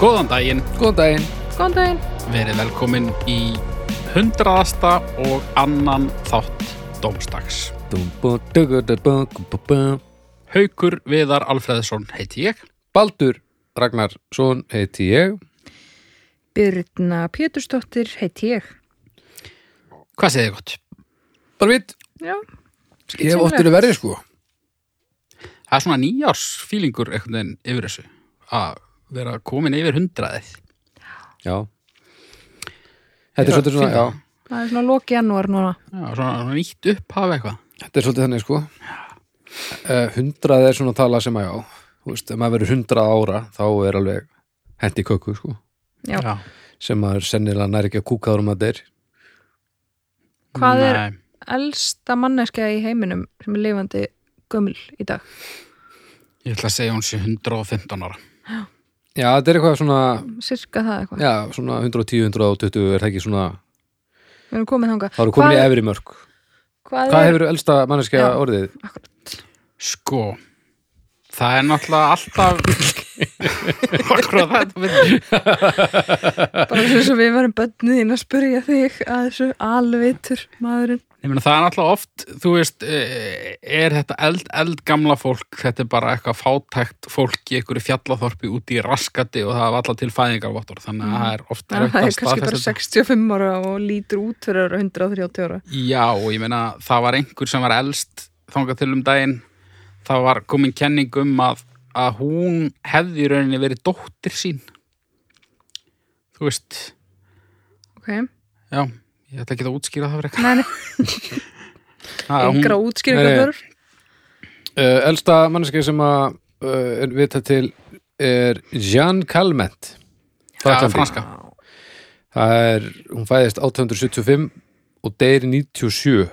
Góðan daginn, Góðan daginn. Góðan daginn. verið velkomin í hundraðasta og annan þátt Dómstags. Dum, bú, dugu, du, bú, gu, bú, bú. Haukur Viðar Alfreðsson heiti ég. Baldur Ragnarsson heiti ég. Birna Pétursdóttir heiti ég. Hvað segið þið gott? Bara vitt, Já. ég hef óttur verið sko. Það er svona nýjársfílingur einhvern veginn yfir þessu. Að vera komin yfir hundraðið. Já. Þetta er svolítið svona, fíla. já, Það er svona loki janúar núna. Já, svona, svona nýtt upphaf eitthvað. þetta er svolítið þannig sko. Uh, hundrað er svona tala sem að já, þú veist, ef maður verður hundrað ára, þá er alveg hendi köku sko, Já. sem maður sennilega næri ekki að kúkaður um að deyr. Hvað er Nei, elsta manneskja í heiminum sem er lifandi gömul í dag? Ég ætla að segja hún sé 115 ára. Já, þetta er eitthvað svona, Sirka það eitthvað. já, svona 110, 120, er það ekki svona, Við erum komið þangað. þá eru komin í Hvað- efri mörg. Hvað, Hvað er... hefur elsta manneskja Já. orðið? Akkurat. Sko, það er náttúrulega alltaf... Akkurat þetta við... Bara svo sem við varum bönnið inn að spyrja þig að þessu alveitur maðurinn. Ég meina það er náttúrulega oft, þú veist, eh, er þetta eld, eldgamla fólk, þetta er bara eitthvað fátækt fólk í einhverju fjallaþorpi úti í raskati og það er alltaf til fæðingarvottur, þannig að það er oft Það er erfitt að kannski bara staðfesta þetta. 65 ára og lítur út fyrir að vera 130 ára. Já, og ég meina það var einhver sem var elst þangað til um daginn, það var komin kenning um að, að hún hefði í rauninni verið dóttir sín. Þú veist, Ok. já, ég ætla ekki að útskýra það fyrir eitthvað. Nei, nei, Það er hún- yngra útskýringar Nei, nei. þar. Uh, elsta manneski sem að uh, er vita til er Jeanne Calment það er Frakklandi. franska. það er, hún fæðist 1875 og deyri 97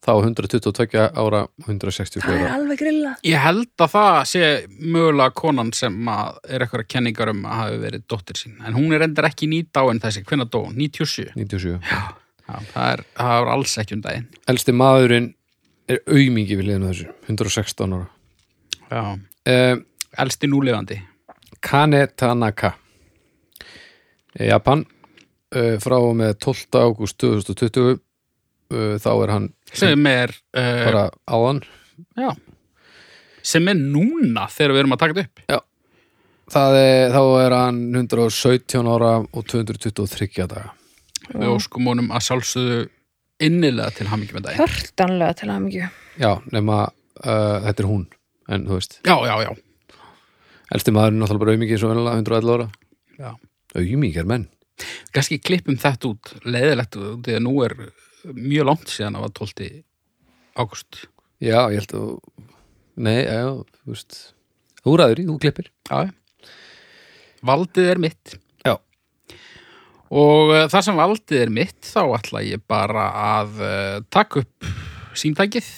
þá 122 ára og 164 Það er ára alveg grilla. Ég held að það sé mögulega konan sem að er eitthvað kenningar um að hafi verið dóttir sín. En hún er endur ekki nýdáin þessi, hvenna dó? 97. 97. Já, það er, það er alls ekki um daginn. Elsti maðurinn er aumingi við liðinu þessu 116 ára Já. uh, Elsti núlefandi. Kane Tanaka Eh, Japan uh, frá og með 12. ágúst 2020 uh, þá er hann Sem er, uh, bara áðan já, sem er núna þegar við erum að taka þetta upp. Það er, þá er hann 117 ára og 223 daga. Við óskum honum að sjálfsögðu innilega til hamingjum með daginn. Hörtanlega til að mikið. Já, nema uh, þetta er hún, en þú veist, Já, já, já. elsti maðurinn náttúrulega bara auðmikið svo vennilega 111 ára. Já. Auðmikið er menn. Ganski klippum þetta út, leiðilegt, út, því að nú er mjög langt síðan að var 12. águst. Já, ég held að, nei, já, þú veist, þú ræður í, þú klippir. Já. Valdið er mitt. Já. Og uh, þar sem valdið er mitt þá ætla ég bara að uh, taka upp símtækið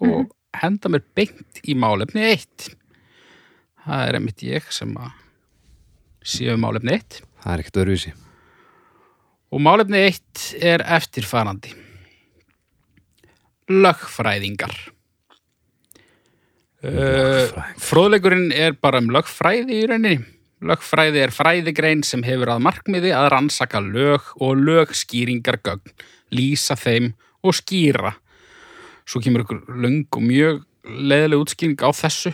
og henda mér beint í málefni eitt. Það er einmitt ég sem að séu málefni eitt. Það er ekkert öðruvísi. Og málefni eitt er eftirfarandi. Lögfræðingar. Uh, fróðleikurinn er bara um lögfræði í rauninni. Lögfræði er fræðigrein sem hefur að markmiði að rannsaka lög og lögskýringargögn, lýsa þeim og skýra. Svo kemur ykkur löng og mjög leðileg útskýring á þessu.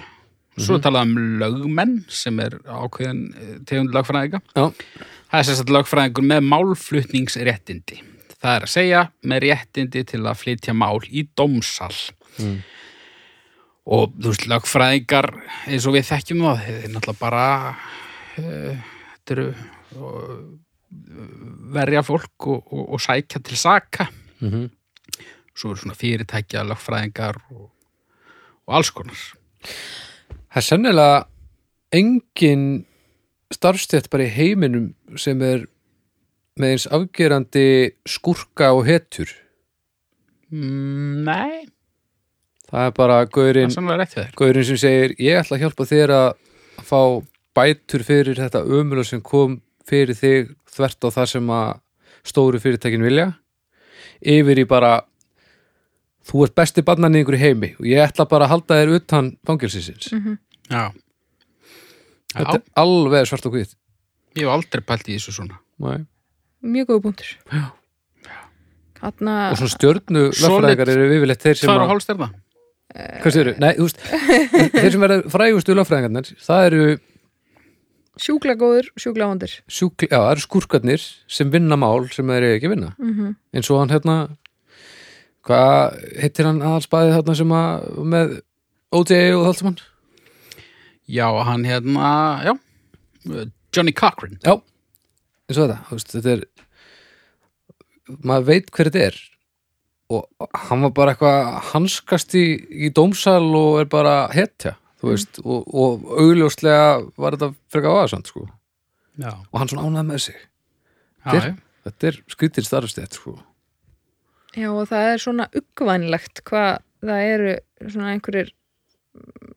Svo er talað um lögmenn sem er ákveðin eh, tegund lögfræðinga. Já, Það er sérstætt lögfræðingur með málflutningsréttindi. Það er að segja með réttindi til að flytja mál í dómsal. Mm. Og þú veist, lögfræðingar, eins og við þekkjum það, þeir náttúrulega bara, eh, þetta eru eh, verja fólk og, og, og sækja til saka. mm Svo eru svona fyrirtækja, lögfræðingar og, og alls konar. það er sennilega engin starfstætt bara í heiminum sem er með eins afgerandi skurka og hetjur. Mm, Nei, Það er bara það gaurinn er sannlega rétt við þér. Gaurinn sem segir, ég ætla að hjálpa þér að að fá bætur fyrir þetta ömulega sem kom fyrir þig þvert á það sem að stóru fyrirtækin vilja yfir í bara þú ert besti barnan í einhverju heimi og ég ætla bara að halda þér utan fangelsisins Já. Þetta er alveg svart og hvít Ég hef aldrei pælt í þessu svona. Nei. mjög góð punktur Já. Þarna, Og svona stjörnu lögfræðingar eru yfirleitt þeir sem Tvær og að, hálf stærða. hvað séru? Nei, þú veist, þeir sem verða frægustu lögfræðingarnir, það eru sjúkla góður, sjúkla vondur sjúkli, já, það eru skúrkarnir sem vinna mál sem þeir eru ekki að vinna mm -hmm. eins og hann hérna hvað heitir hann aðalsbæðið hérna sem að með OJ og allt saman Já, hann hérna, já, Johnny Cochran. já, eins og þetta þú veist, þetta er maður veit hver þetta er og hann var bara eitthvað að hanskast í, í dómsal og er bara hetja, Mhm. þú veist og, og augljóslega var þetta frekar áðarsand sko, Já, og hann svona ánað með sig já, já. þetta er skrítir starfstætt sko Já, og það er svona uggvænlegt hvað það eru svona einhverjir mm,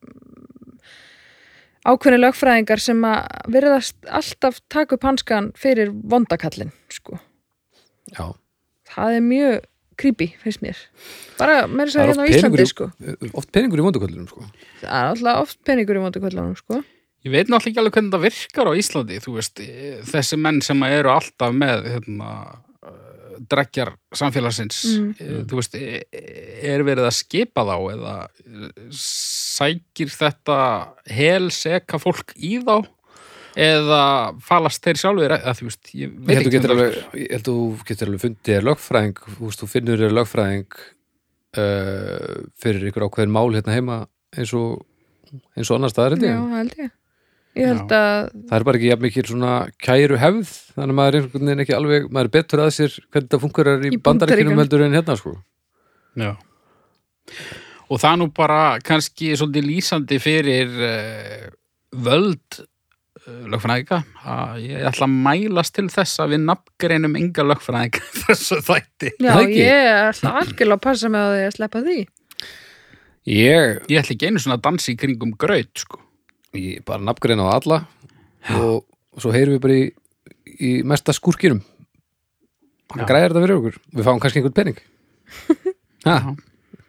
ákveðni lögfræðingar sem að verðast alltaf taka upp hanskan fyrir vondakallin, sko. já, Það er mjög creepy, finnst mér. Bara meira þess Það að er hérna á oft Íslandi, peningur í- sko. oft peningur í vonduköllunum sko Það er alltaf oft peningur í vondakallunum, sko. Ég veit náttúrulega ekki alveg hvernig það virkar á Íslandi, þú veist, eh, þessi menn sem eru alltaf með, hérna, eh, dreggjar samfélagsins, Mm. mm. þú veist, eh, er verið að skipa þá eða eh, sækir þetta hel seka fólk í þá eða falast þeir sjálfur, eða þú veist, ég Ég veit held, þú ekki getur hvernig alveg, ég held þú getur alveg fundið er lögfræðing, þú veist, þú finnur er lögfræðing uh, fyrir ykkur ákveðin mál hérna heima eins og, eins og annar staðar held Já, ég. held ég. Ég held að, Það er bara ekki jafn mikil svona kæru hefð, þannig að maður er einhvern veginn ekki alveg, maður er betur að sér hvernig það funkurar í, Í í bandaríkjunum Bandaríkjunum. heldur en hérna sko. Já. Og það er nú bara kannski svolítið lýsandi fyrir uh, völd uh, lögfræðinga. Ha, ég ætla að mælast til þess að við nafngreinum enga lögfræðinga í þessu þætti. já, Það ekki? ég ætla algjörlega að passa með að ég að sleppa því. Ég, Ég ætla ekki einu svona að dansa í kringum graut, sko. ég bara nafngreina á alla og, og svo heyrum við bara í, í mesta skúrkinum. Já. Hann græðir þetta fyrir okkur. Við fáum kannski einhvern pening. Ha,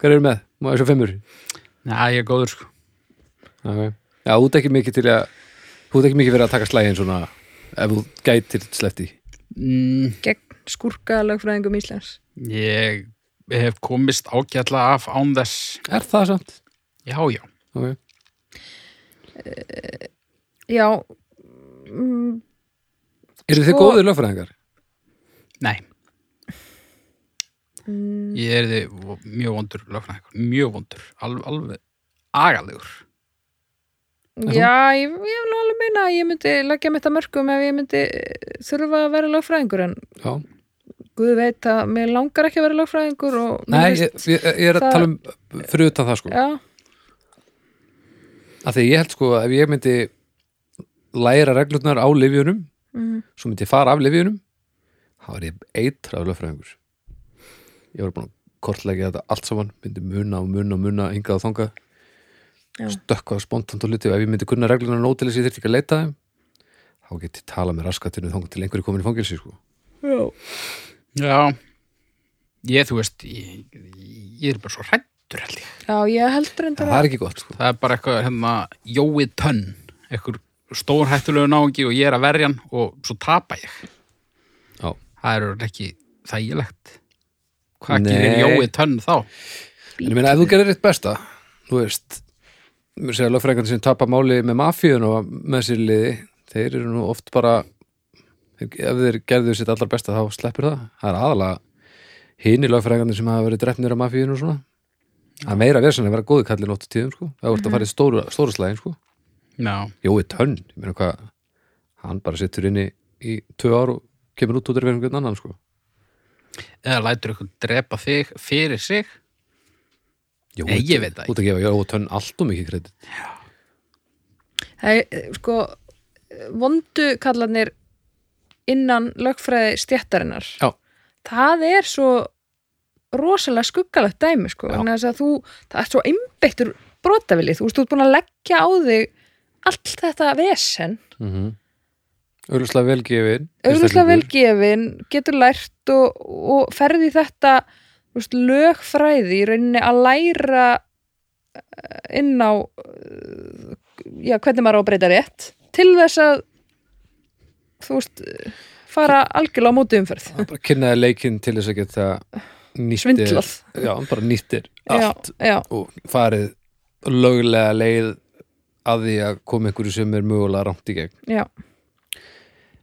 hver eru með? Má þessu fimmur? Já, ég er góður, sko. Okay. Já, þú ert ekki mikið til að þú ert ekki mikið fyrir að taka slægin svona ef þú gætir slefti Mm, Gegn skúrka lögfræðingum Íslands. ég hef komist ágætla af án þess. Er það samt? Já, já. Okay. Já, mm, Eru þið Sko- góðir lögfræðingar? Nei. Mm, Ég er þið mjög vondur lögfræðingur. Mjög vondur. Al, alveg agalegur. Já, ég, ég vil nú alveg meina að ég myndi leggja mitt að mörgum ef ég myndi eh, þurfa að vera lögfræðingur en Já. Guð veit að mér langar ekki að vera lögfræðingur og mér Nei, finnst- ég, ég, ég er að það- tala um fyrir utan það sko Já, af því ég held sko að ef ég myndi læra reglurnar á lifjunum mm, svo myndi ég fara af lifjunum þá er ég eitrað lögfræðingur Ég var búin að kortleggja þetta allt saman myndi muna og muna og muna engað og þangað Já. stökkvað spontant og hluti og ef ég myndi kunna reglurnar nótilis ég þyrfti ekki að leita þeim þá get ég tala með raskatinu þangað til einhverju komin í fangelsi sko. já. Já, ég, þú veist, ég, ég er bara svo hrættur held ég. já, ég held en reyndar það að er ekki gott sko. Það er bara eitthvað, hérna, Jói Tönn, eitthvað stór hættulegu náungi og ég er að verja hann og svo tapa ég. Já. Það er örugglega ekki þægilegt. Hvað Nei. gerir Jói Tönn þá? en ég meina ef þú gerir eitt besta þú veist mér segja lögfræðingarnir sem tapa máli með mafíun og með sér liði þeir eru nú oft bara ef þeir gerðu sitt allar besta þá sleppur það það er aðalega hini lögfræðingarnir sem hafa verið drefnir á mafíun og svona það er meira verðsann að vera góði kallin óttu tíðum sko það voru að fara í stóru, stóru slæðin sko Já, Jói Tönn, ég meina hvað hann bara sittur inni í tvö ár og kemur út út af einhvern annan sko eða lætur eitthvað drepa þig fyrir sig? Jói Nei, ég Tönn, veit það út að gefa Jói Tönn allt og mikið kredit það er, eh, sko, eh, vondu kallarnir innan lögfræði stjættarinnar Já. það er svo rosalega skuggalegt dæmi sko, Já. vegna þess að þú, það er svo einbeittur brotavili, þú veist, þú ert búin að leggja á þig allt þetta vesen mm -hmm. auðvitað vel gefin auðvitað vel gefin, getur lært og, og ferði þetta þú veist, lögfræði í rauninni að læra eh, inn á eh, já, hvernig maður á að breyta rétt til þess að þú veist eh, fara algjörlega á móti umferð bara kynnaði leikinn til þess að geta nýttir, svindlað já, bara nýttir allt já, já, og farið löglega leið að því að koma einhverju sem er mögulega rámt í gegn já.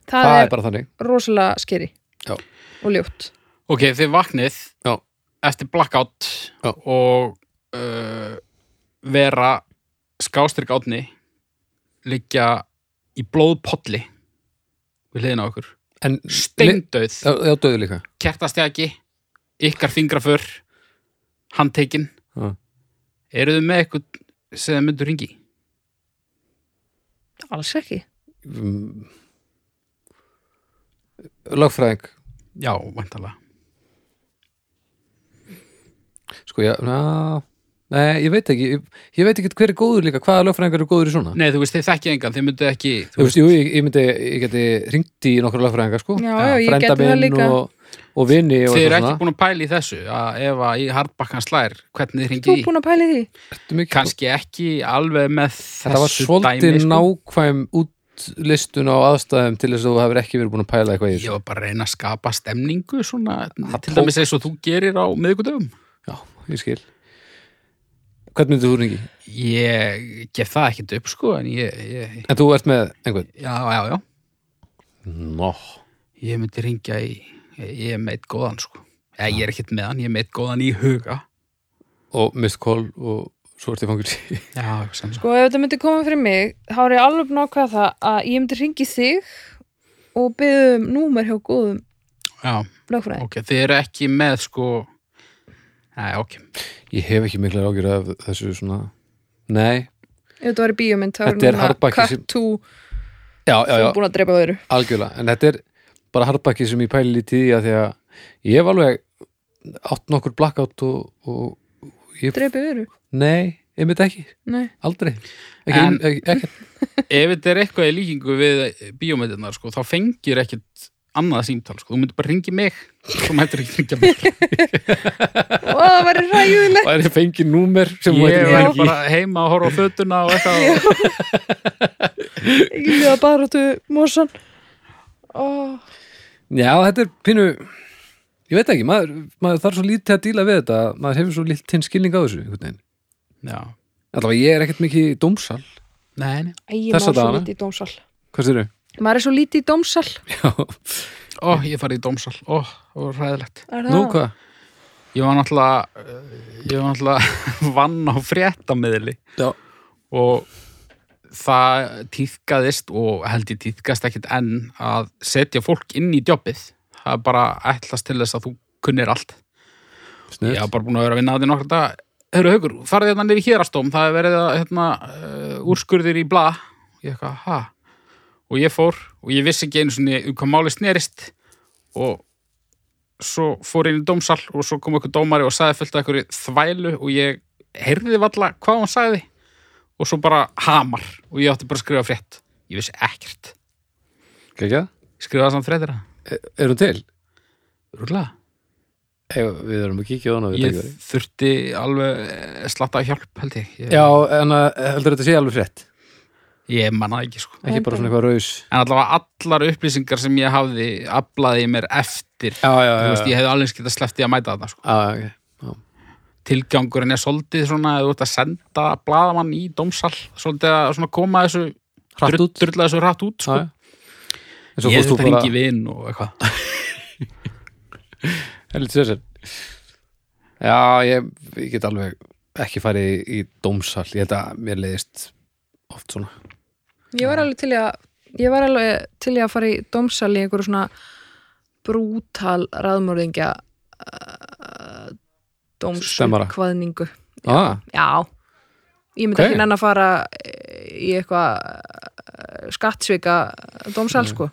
það, það er, er bara þannig rosalega skeri Já. og ljótt Ok, þið vaknið Já. eftir blackout Já. og uh, vera skástrík átni liggja í blóðpolli við hliðina á okkur en steindauð, já, já, döðu líka kertastjaki ykkar fingraför handtekin Já. eru þið með eitthvað sem þið myndur ringi alls ekki Mm. lögfræðing já, væntalega sko, já, na, nei, ég veit ekki ég, ég veit ekki hver er góður líka, hvaða lögfræðingar eru góður í svona nei, þú veist, þið þekkið engan, þið myndu ekki Þú veist, jú, ég, ég myndi, ég geti hringt í nokkra lögfræðinga, sko. Já, já, ég Frænda gæti það minn líka. Og, og vini og þið eru eitthvað ekki svona. búin að pæla í þessu að ef að í hardbakkan slær hvernig þið þú ringið í búin að pæli því Ertu mikið- kannski ekki alveg með Þetta var þessu svolítið dæmi sko. nákvæm útlistun á aðstæðum til þess að þú hefur ekki verið búin að pæla eitthvað í ég þessu. var bara að reyna að skapa stemningu svona, til tók. dæmis eins og þú gerir á miðvikudöfum Já, ég skil. Hvernig myndir þú hringi? ég gef það ekkert upp sko en ég, ég, En þú ert með einhvern? já, já, já Nó. ég myndi ringja í, ég er meitt góðan sko Já, ég er ekkert með hann, ég er meitt góðan í huga Og mist kól og svo ert ég fangil í. Já, sem sko sko ef þetta myndi koma fyrir mig þá er ég alveg nokkað það að ég myndi ringi þig og byggja um númer hjá góðum Já, lögfræðing ok, þið eru ekki með sko Nei, ok Ég hef ekki mikla ágjur af þessu svona... Nei. ef þetta var í bíómynd þá er Þetta er núna hardbaki cut sem- to Já, já, þú já. er búin að drepa öðru algjörlega, en þetta er bara hardbakki sem ég pæli lítið í að því að ég hef alveg átt nokkur blackout og, og ég, drepa öðru nei, einmitt ekki Nei. aldrei, ekki, En- ekki, ekki Ef þetta er eitthvað í líkingu við bíómyndirnar sko, þá fengir ekkert annað símtal sko, þú myndir bara ringi mig þú mættir ekki ringja mig og það var ræðilegt það er fengið númer sem hún Ég heitir var ekki bara heima að horfa á fötuna og eitthvað ekki við að baráttu morsan oh, já, þetta er pínu ég veit ekki, maður, maður þarf svo lítið að díla við þetta, maður hefur svo lítið tinn skilning á þessu einhvern veginn, Já, allavega ég er ekkert mikið í dómsal, nei, nei Æ, ég Þessa maður er svo dagana? lítið í dómsal hvað styrir? maður er svo lítið í dómsal Já, Ó, ég farið í dómsal, ó, það var ræðilegt Er nú það? hvað? Ég var náttúrulega eh, ég var náttúrulega vann á fréttamiðli Já, og það týðkaðist og held ég týðkast ekkit enn að setja fólk inn í djópið það er bara ætlast til þess að þú kunnir allt snöð ég hafa bara búin að vera að vinna að því nokkra dag Hörru haugur, farið þetta hérna niður í hérastóm það er verið að hérna, uh, úrskurðir í bla ég eitthvað, ha og ég fór og ég vissi ekki einu svona um hvað máli snerist og svo fór ég inn í dómsal og svo kom einhver dómari og sagði fullt af einhverju þvælu og ég heyrði valla hvað hann sagði og svo bara hamar og ég átti bara að skrifa frétt ég vissi ekkert, Gekja? Ég skrifaði samt fréttir að Er hún til? rúglega, Ef, við erum að kíkja á hana við ég tækifæri. þurfti alveg eh, slatta hjálp held ég, ég Já, en eh, að, heldur þetta sé alveg frétt ég mannaði ekki sko ekki bara svona eitthvað raus en allavega allar upplýsingar sem ég hafði aflaði mér eftir Já, já, þú Ah, já, veist, ég hefði alveg getað sleppti að mæta þetta sko. já, já, já. tilgangurinn er svolítið svona að þú ert að senda bladamann í dómsal svolítið að svona koma þessu Hratt drull- út. drulla þessu hratt út sko. Ah, Já, já. En svo ég fórst þú þetta bara... bara ringi vinn og eitthvað Heldur sér sér Já, ég, ég get alveg ekki farið í, í dómsal ég held að mér leiðist oft svona ég var alveg til í að ég var alveg til í að fara í dómsal í einhverju svona brútal raðmörðingja uh, Stemmara. dómsulkvaðningu ah, já, ég myndi Ok. ekki nenn að fara eh, í eitthvað eh, skattsvika dómsal Mm. sko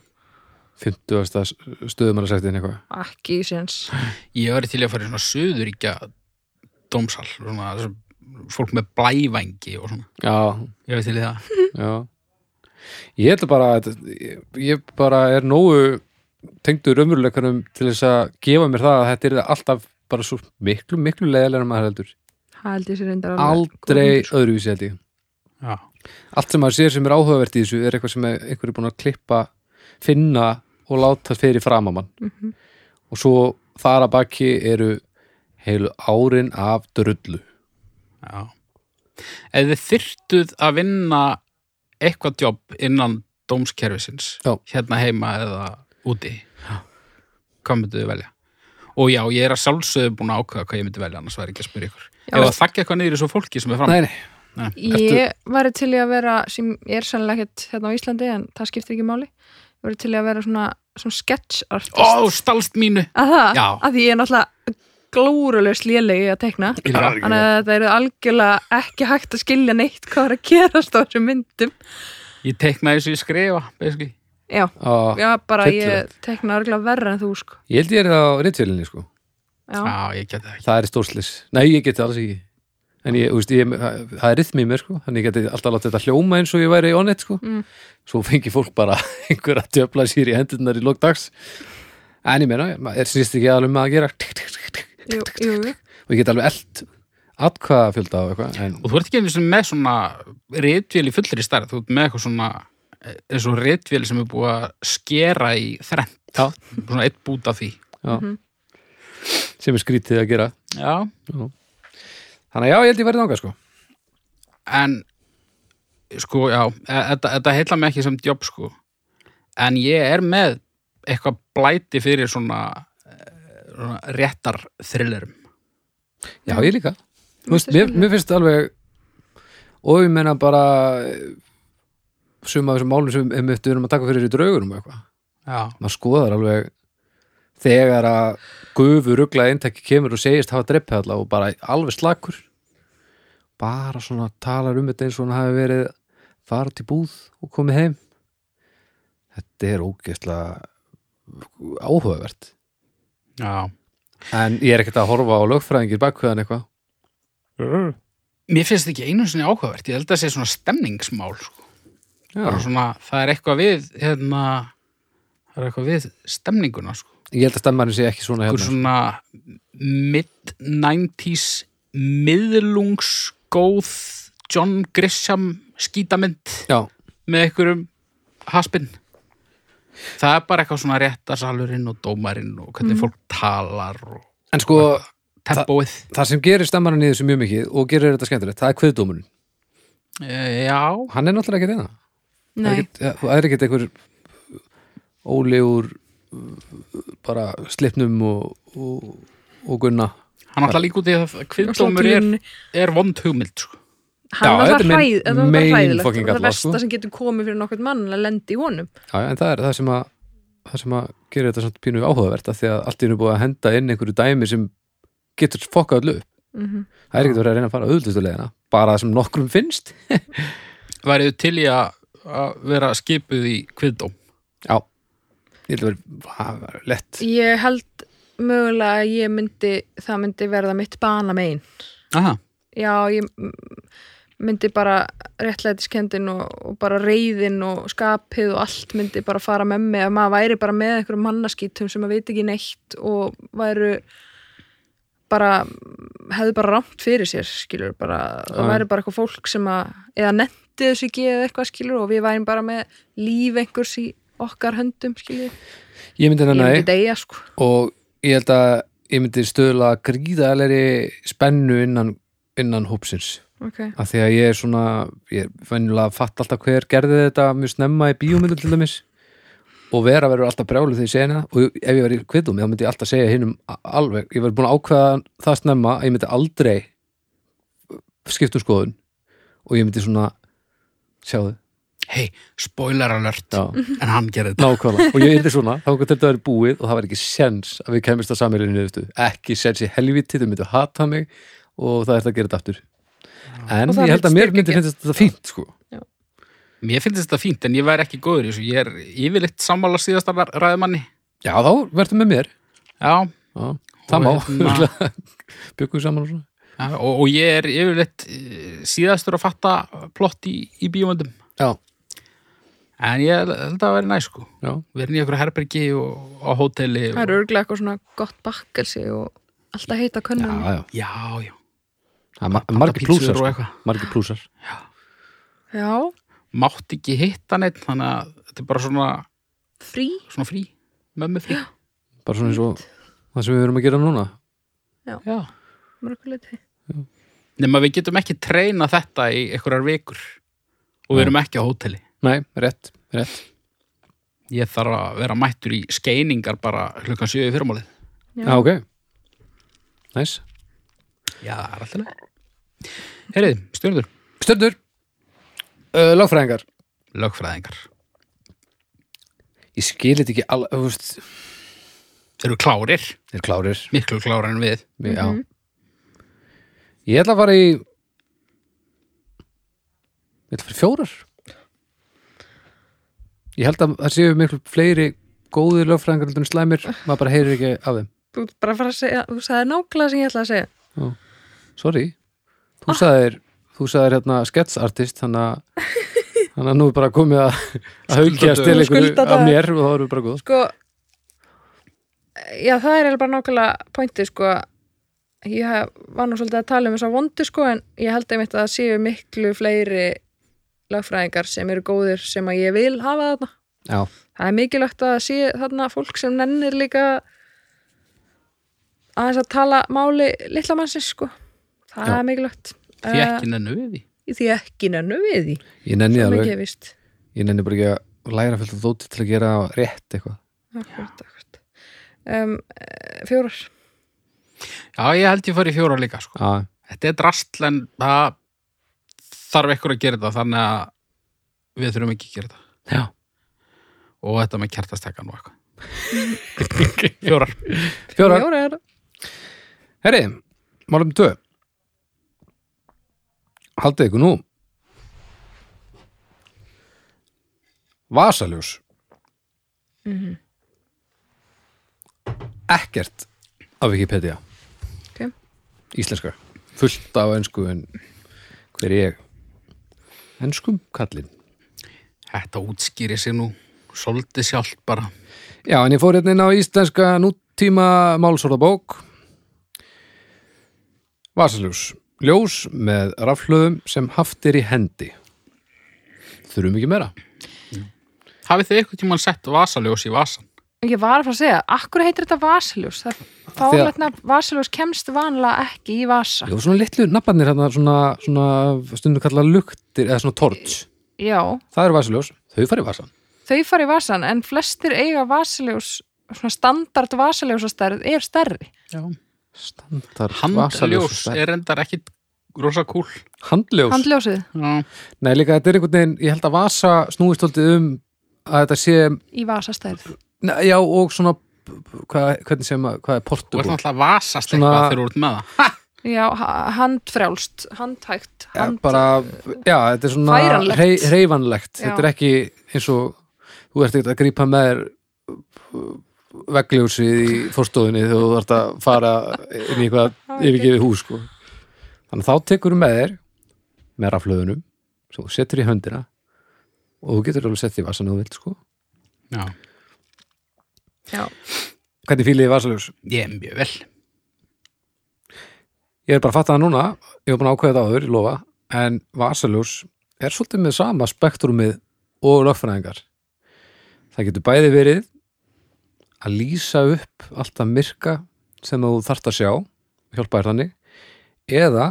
50. stöðum að sagt inn eitthvað ekki séns ég var til í að fara í svona söðuríkja dómsal svona, þessum- fólk með blævængi og svona Já, ég var til í það já Ég held bara að ég, ég bara er nógu tengdur umurleikunum til þess að gefa mér það að þetta er alltaf bara svo miklu, miklu leiðilega en maður heldur Það held ég sér reyndar alveg. aldrei öðruvísi held ég já, allt sem maður sér sem er áhugavert í þessu er eitthvað sem er- einhver er búin að klippa finna og láta fyrir fram að mann Mhm. og svo þar að baki eru heilu árin af drullu já. Ef þið þyrtuð að vinna eitthvað jobb innan dómskerfisins, Já. hérna heima eða úti, hvað mynduðu velja? Og já, ég er að sjálfsögðu búin að ákveða hvað ég myndi velja, annars væri ekki að spyrja ykkur. Já. Ef það þakki eitthvað niður í svo fólki sem er fram. nei, nei, Ég væri til í að vera, sem ég er sannlega ekkert hérna á Íslandi en það skiptir ekki máli, ég væri til í að vera svona, svona sketch artist. Ó, stalst mínu! Að það, Já. að því ég er náttúrulega glórulega slélegi að tekna. Líka. Þannig að þetta eru algjörlega ekki hægt að skilja neitt hvað er að gerast á þessum myndum. Ég teknaði þessu í skrifa, basically. Já, á, já bara hryllilegt. ég tekna örgulega verra en þú sko. Ah, ég held ég er á reyndfélinni sko Já, Já, ég geti það ekki. það er stórslis, nei ég geti alls ekki en ég, þú veist, ég, það það er rytmi í mér sko þannig ég geti alltaf látt þetta hljóma eins og ég væri onnett sko, Mm. svo fengi fólk bara einhver að döfla sér í hendurnar í lókdags en ég meina, maður er snýst ekki aðalum að gera tík, tík, tík, tík, jú, jú, jú. og ég get alveg eld atkvaða fjölda á eitthvað en, Og þú ert ekki einu sinni með svona rítvél í fullri stærð, þú ert með eitthvað svona eh, eins og rítvél sem er búið að skera í þrennt. Já. Svona eitt bút af því. já, sem er skrítið að gera Já. þannig að já, ég held ég verið þangað sko En, sko, já, e- þetta, þetta heilla mig ekki sem jobb, sko. En ég er með eitthvað blæti fyrir svona, eh, svona réttar thrillerum. já, ég líka, Þú veist, Þetta er mér, mér finnst alveg og ég meina bara suma af þessum málum sem einmitt við erum að taka fyrir í draugunum og eitthvað Já. maður skoðar alveg þegar að gufu rugglaði eintekki kemur og segist hafa dreppið alla og bara alveg slakur bara svona talar um þetta eins og hann hafi verið fara til búð og komið heim þetta er ógeðslega áhugavert Já. en ég er ekkert að horfa á lögfræðingir bakkvæðan eitthvað Mér finnst þetta ekki einu sinni áhugavert. Ég held að það sé svona stemningsmál, sko. bara Já. svona, það er eitthvað við hérna, það er eitthvað við stemninguna, sko, ég held að stemmarinn sé ekki svona eitthvað hérna svona mid-90s miðlungsgóð John Grisham skítamynd Já, með einhverjum haspinn það er bara eitthvað svona réttarsalurinn og dómarinn og hvernig Mhm. fólk talar og en sko tempóið það sem gerir stemmarinn í þessu mjög mikið og gerir þetta skemmtilegt, það er kviðdómurinn e, Eh, já, hann er náttúrulega ekki þeirna Það er Nei, ekkert- ja, það er ekkert einhver óli úr uh, bara slipnum og, og, og gunna hann alltaf líka út í það kviðdómur er, Sláttuninni. er vond hugmynd sko. hann er Já, þetta er það minn hræð, þetta er bara main hræðilegt fucking og það galla, versta sko. sem getur komið fyrir nokkert mann að lendi í honum já, já, en það er það sem að það sem að gera þetta samt pínu áhugavert af því að allt í einu er búið að henda inn einhverju dæmi sem getur fokkað allu upp Mhm. það er ekkert verið að reyna að fara auðvitaðstulegina bara það sem nokkrum finnst væriðu til í að að vera skipuð í kviðdóm já, ég held að vera það var lett Ég held mögulega að ég myndi, það myndi verða mitt bana megin. Aha. Já, ég mm, myndi bara réttlætiskendin og, og bara reyðin og skapið og allt myndi bara fara með mig að maður væri bara með einhverjum mannaskítum sem maður veit ekki neitt og væru bara, hefðu bara rámt fyrir sér, skilur, bara það Já. væri bara eitthvað fólk sem að, eða netti þessu ekki eða eitthvað, skilur, og við værim bara með líf einhvers í okkar höndum, skilur, ég myndi ég hérna nei myndi deyja, sko og ég held að ég myndi stöðla gríðalegri spennu innan, innan hópsins okay. að því að ég er svona ég er venjulega að fatta alltaf hver gerði þetta mjög snemma í bíómyndu til dæmis og vera verður alltaf brjálu þegar ég segja hana og ef ég verið kvittum, þá myndi ég alltaf segja hinnum alveg, ég verið búin að ákveða það snemma að ég myndi aldrei skipta um skoðun og ég myndi svona sjáðu, hei, spoiler alert já, en hann gerði þetta nákvæmlega og ég yrði svona, þá kom þetta verið búið og það var ekki sens að við kemist að sammeilinu niðurstu ekki sens í helviti, þau myndu hata mig og það er það að gera þetta aftur en Og það ég held myndi að mér styrkja myndi ekki. finnst þetta fínt sko mér finnst þetta fínt en ég væri ekki góður í þessu ég er yfirleitt sammála síðasta ra- ræðumanni Já, þá verður með mér já, Já, Það má Og hérna- Byggum við saman og svona já, og, og ég er yfirleitt eh, síðastur að fatta plott í, í bíómyndum Já, en ég held að það væri næ sko já, verðin í einhverju herbergi og á hóteli Það er og... örglega eitthvað svona gott bakkelsi og alltaf heita já, könnum. já. já, já, Það er mar- margir pítsur plúsar og sko. eitthvað Margir plúsar já, mátt ekki hitta neitt þannig að þetta er bara svona, frí svona frí mömmu frí bara svona eins og það sem við verum að gera núna Já. mörguleiti nema við getum ekki treyna þetta í einhverjar vikur og við Nei. erum ekki á hóteli nei, rétt, rétt ég þarf að vera mættur í skeiningar bara klukkan 7 í fyrramálið já, Ah, ok næs, já, það er alltaf leið Herrið, stjórnur, stöndur uh, lagfræðingar lögfræðingar ég skil þetta ekki alveg, þú veist eru klárir, þeir klárir miklu klárar en við mm -hmm. ég ætla að fara í ég ætla að fara í fjórar ég held að það séu miklu fleiri góðir lögfræðingar heldur en slæmir, maður bara heyrir ekki af þeim þú ert bara að fara að segja, þú sagði nákvæmlega sem ég ætla að segja sorry, þú sagðir þú sagðir hérna sketsartist þannig að þannig að nú er bara komið að að haugjast til einhverju Skuldadagur. af mér og þá erum við bara góð sko já það er eiginlega bara nákvæmlega pointi sko ég hef- var nú svolítið að tala um þess að vondi sko en ég held einmitt að það séu miklu fleiri lagfræðingar sem eru góðir sem að ég vil hafa þarna já, það er mikilvægt að það sé þarna fólk sem nennir líka aðeins að tala máli litla mannsins sko það Já. er mikilvægt því ekki nennu við því Eh, því ekki nennu við því ég nenni það er alveg ekki vist ég nenni bara ekki að læra fullt af dóti til að gera rétt eitthvað akkurat, akkurat. Um, eh, fjórar já, ég held ég fari í fjórar líka sko. já, þetta er drastl en það þarf ekkur að gera þetta þannig að við þurfum ekki að gera þetta já og þetta með kertastekkan og eitthvað fjórar Fjórar. fjórar. Herri, málum tvö Haldið ykkur nú Vasaljós Ekkert af Wikipedia Ok. Íslenska Fullt af ensku en hver er ég Enskum kallinn þetta útskýri sig nú svolítið sjálft bara Já, en ég fór hérna inn á íslenska nútíma málsorðabók Vasaljós Ljós með rafhlöðum sem haft er í hendi Þurfum ekki meira hafið þið eitthvað tímann sett vasaljós í vasan Ég var að fara að segja, akkur heitir þetta vasaljós? Það er fálega að vasaljós kemst vanlega ekki í vasa. Jó, svona litlu nafnarnir hérna svona, svona stundu kalla luktir eða svona torts Já, Það eru vasaljós, þau fara í vasan þau fara í vasan en flestir eiga vasaljós, svona standard vasaljósastærð er stærri. já. Standard handljós vasaljós er endar ekkit rosa kúl Handljós Handljósið já. Nei, líka þetta er einhvern veginn, ég held að vasa snúist holdið um að þetta sé í vasastærð. Nei, Já, og svona hvað, hvernig segir maður, hvað þú er ert portugál? náttúrulega að vasast Svona- eitthvað þegar þú ert með það ha! Já, ha- handfrjálst, handhægt, Já, hand... Eh, bara, já, þetta er svona Færanlegt. rey, reyfanlegt, Já. þetta er ekki eins og þú ert ekkert að grípa með þér eh, veggljósið í fórstofunni þegar þú ert að fara inn í eitthvað yfirgefið hús sko. þannig að þá tekur þú með þér með raflöðunum sem þú setur í höndina og þú getur alveg sett því vasan ef þú vilt sko. já, Já, hvernig fílið þið vasaljós? ég er mjög vel Ég er bara að fatta það núna, ég var búin að ákveða þetta áður, ég lofa, en vasaljós er svolítið með sama spektrumið og lögfræðingar. Það getur bæði verið að lýsa upp allt að myrka sem þú þarft að sjá, hjálpa þér þannig, eða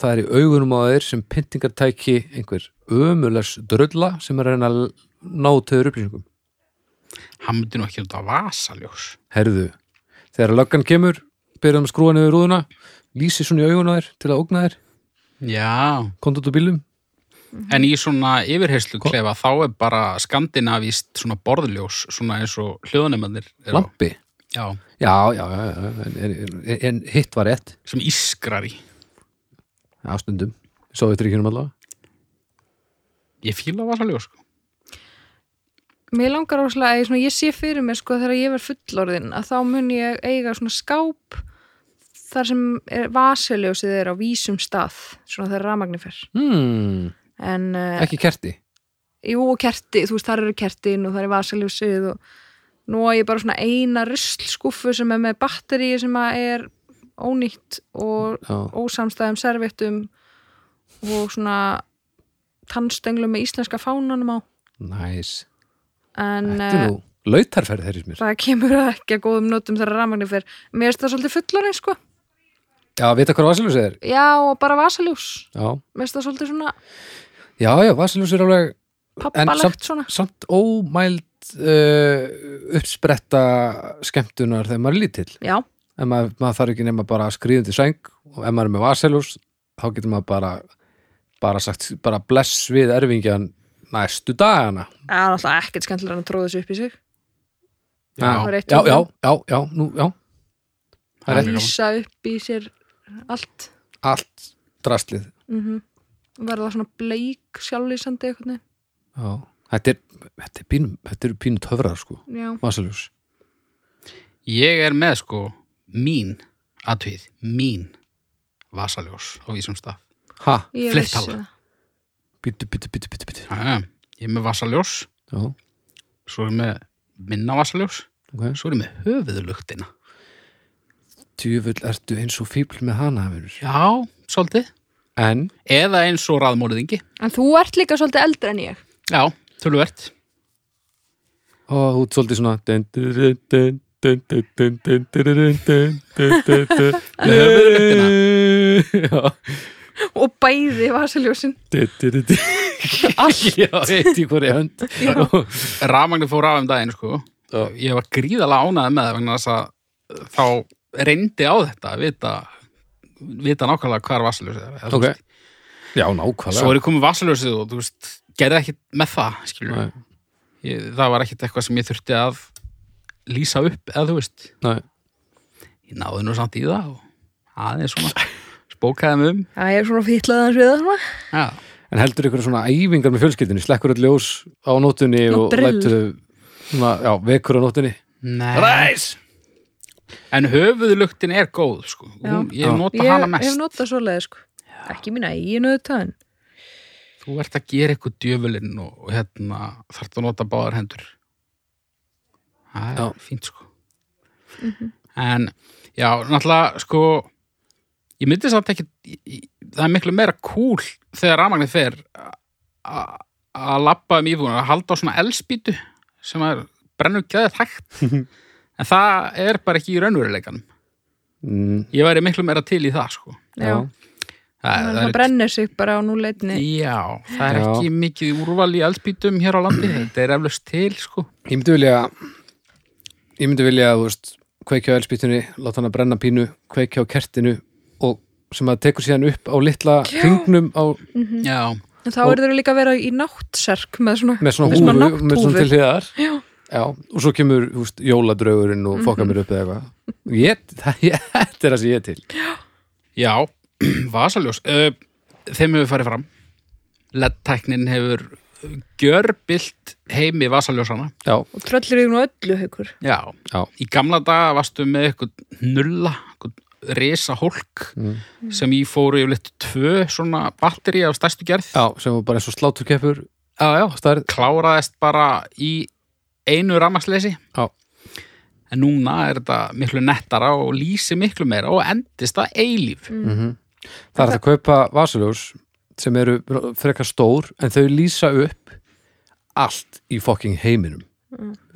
það er í augunum á þeir sem pyntingartæki einhver ömulegs drulla sem er að reyna að ná töður upplýsingum. hann myndi nú ekki út á vasaljós Herðu, þegar löggan kemur, byrjaðum að skrúa niður rúðuna, lýsi svona í augunum á þeir til að ógna þeir, já, kontot og bílum, En í svona yfirheyslu klefa þá er bara skandinavíst svona borðljós, svona eins og hljóðnemannir eru á. lampi. Já, Já, já, já, já, en, en, en hitt var rétt sem ískrar í. Já, stundum, svo við tryggjum allavega Ég fíla vasaljós, sko. mér langar áslega að ég, svona, ég sé fyrir mér sko þegar ég verð fullorðin að þá mun ég eiga svona skáp þar sem er vasaljósið er á vísum stað, svona þegar rafmagnir fer. hmm, En, eh, Ekki kerti jú og kerti, þú veist þar eru kertin og þar er vasaljósið og nú er ég bara svona eina ruslskúffu sem er með batteri sem að er ónýtt og Já, ósamstæðum servettum og svona tannstönglu með íslenska fánanum á Næs. en Þetta eh, er nú lautarferð þeirri mér. það kemur ekki að góðum notum þegar rafmagnir fer mér er það svolítið fullorinn sko Já, vita hvað vasaljós er? já og bara vasaljús Já, mér er það svolítið svona já, já vasaljós er alveg pappalegt samt- svona samt ómæld uh, uppspretta skemmtunar þegar maður er lítill. já, En maður, maður þarf ekki nema bara að skrifa undir sæng og ef maður er með vasaljós, þá getur maður bara, bara sagt, bara bless við erfingjan næstu dagana. það er alltaf ekkert skemmtilega að tróða þessu upp í sig Já, var eitt já, um já, það. já, já, nú, já, Það er mjög gaman. lýsa upp í sér allt allt drastlið. mm verða svona bleik sjálflýsandi eitthvað Já. Þetta er, þetta er pínum, þetta eru pínum töfrar, sko, já, vasaljós. Ég er með sko mín aðtöð, mín vasaljós á vísum stað. Ha, ég Fleitt vissi alveg. það bítu, bítu, bítu, bítu, bítu. Jæja, Ég er með vasaljós, Já, svo er ég með minna vasaljós, ok. svo er ég með höfuðlugtina. Tjöfull ertu eins og fíbl með hana, hafður. Já, svolítið. En, Eða eins og raðmóriðingi. en þú ert líka svolítið eldri en ég Já, tölvert. ó, þú ert svolítið svona, dun, dun, dun, dun, dun, dun, dun, dun, dun, dun, dun, dun, dun, dun. Já, og bæði vasaljósin dun, dun, dun, dun. allt Já, eitt í hverju hönd. Rafmagnir fór af um daginn sko. Já. Ég var gríðalega ánæði með það vegna þess að þá reyndi á þetta að vita, vita nákvæmlega hvað er vasaljós. eða- eða þú Ok. veist. Já, nákvæmlega. Svo er ég komið vasaljósið og þú veist, gerði ekkert með það, skilur Nei, ég, það var ekkert eitthvað sem ég þurfti að lýsa upp eða þú veist nei. ég náði nú samt í það og aðeins svona spókaði mig um það er svona fýtlað hans við það svona. já, En heldur ykkur svona æfingar með fjölskyldinu, slekkur öll ljós á nótunni Nú, og brill. lætur þau, svona, já, vekur á nótunni. Ræs! en höfuðlugtin er góð sko. Hún, Já. ég nota ég hana hef mest notað svoleiði sko ekki mína eiginu auðvitað en þú ert að gera eitthvað djöfulinn og, og hérna, þarf að nota báðar hendur það er Já. fínt sko en já, náttúrulega sko ég myndi samt ekki ég- ég- það er miklu meira cool þegar rafmagnir fer a- a- að labba um íbúinu að halda á svona elspýtu sem er brennur gæðið hægt en það er bara ekki í raunveruleikanum Mm, ég væri miklu meira til í það sko já, það, þannig að það brennir sig bara á núleitni Já, það er Já. ekki mikið úrval í eldspýtum hér á landi, þetta er eflaust til sko. Ég myndi vilja ég myndi vilja, þú veist, kveikja á elspýtunni láta hana brenna pínu, kveikja á kertinu og sem að tekur síðan upp á litla Já. hringnum á, Já, en þá eru þau líka að vera í náttserk með svona, með svona Með svona húfu með nátthúfu. svona til hliðar já, Mhm. Já, og svo kemur þú veist, jóladraugurinn og fokkar mér upp eða eitthvað ég, það, ég, þetta er það sem ég er til já, vasaljós. Ö, Þeim hefur farið fram. LED-tæknin hefur gjörbilt heimi vasaljósana. Já, og tröllir yfir nú öllu haukur Já. já, Í gamla daga varstu með eitthvað nulla, eitthvað resa hólk Mm. sem ég fóru yfirleitt tvö svona batteri af stærstu gerð. já sem var bara eins og sláturkeppur já, já. stærð, Kláraðist bara í einu ramasleysi. já, En núna er þetta miklu nettara og lýsi miklu meira og endist það eilíf. það er hægt að kaupa vasaljós sem eru frekar stór en þau lýsa upp allt í fokking heiminum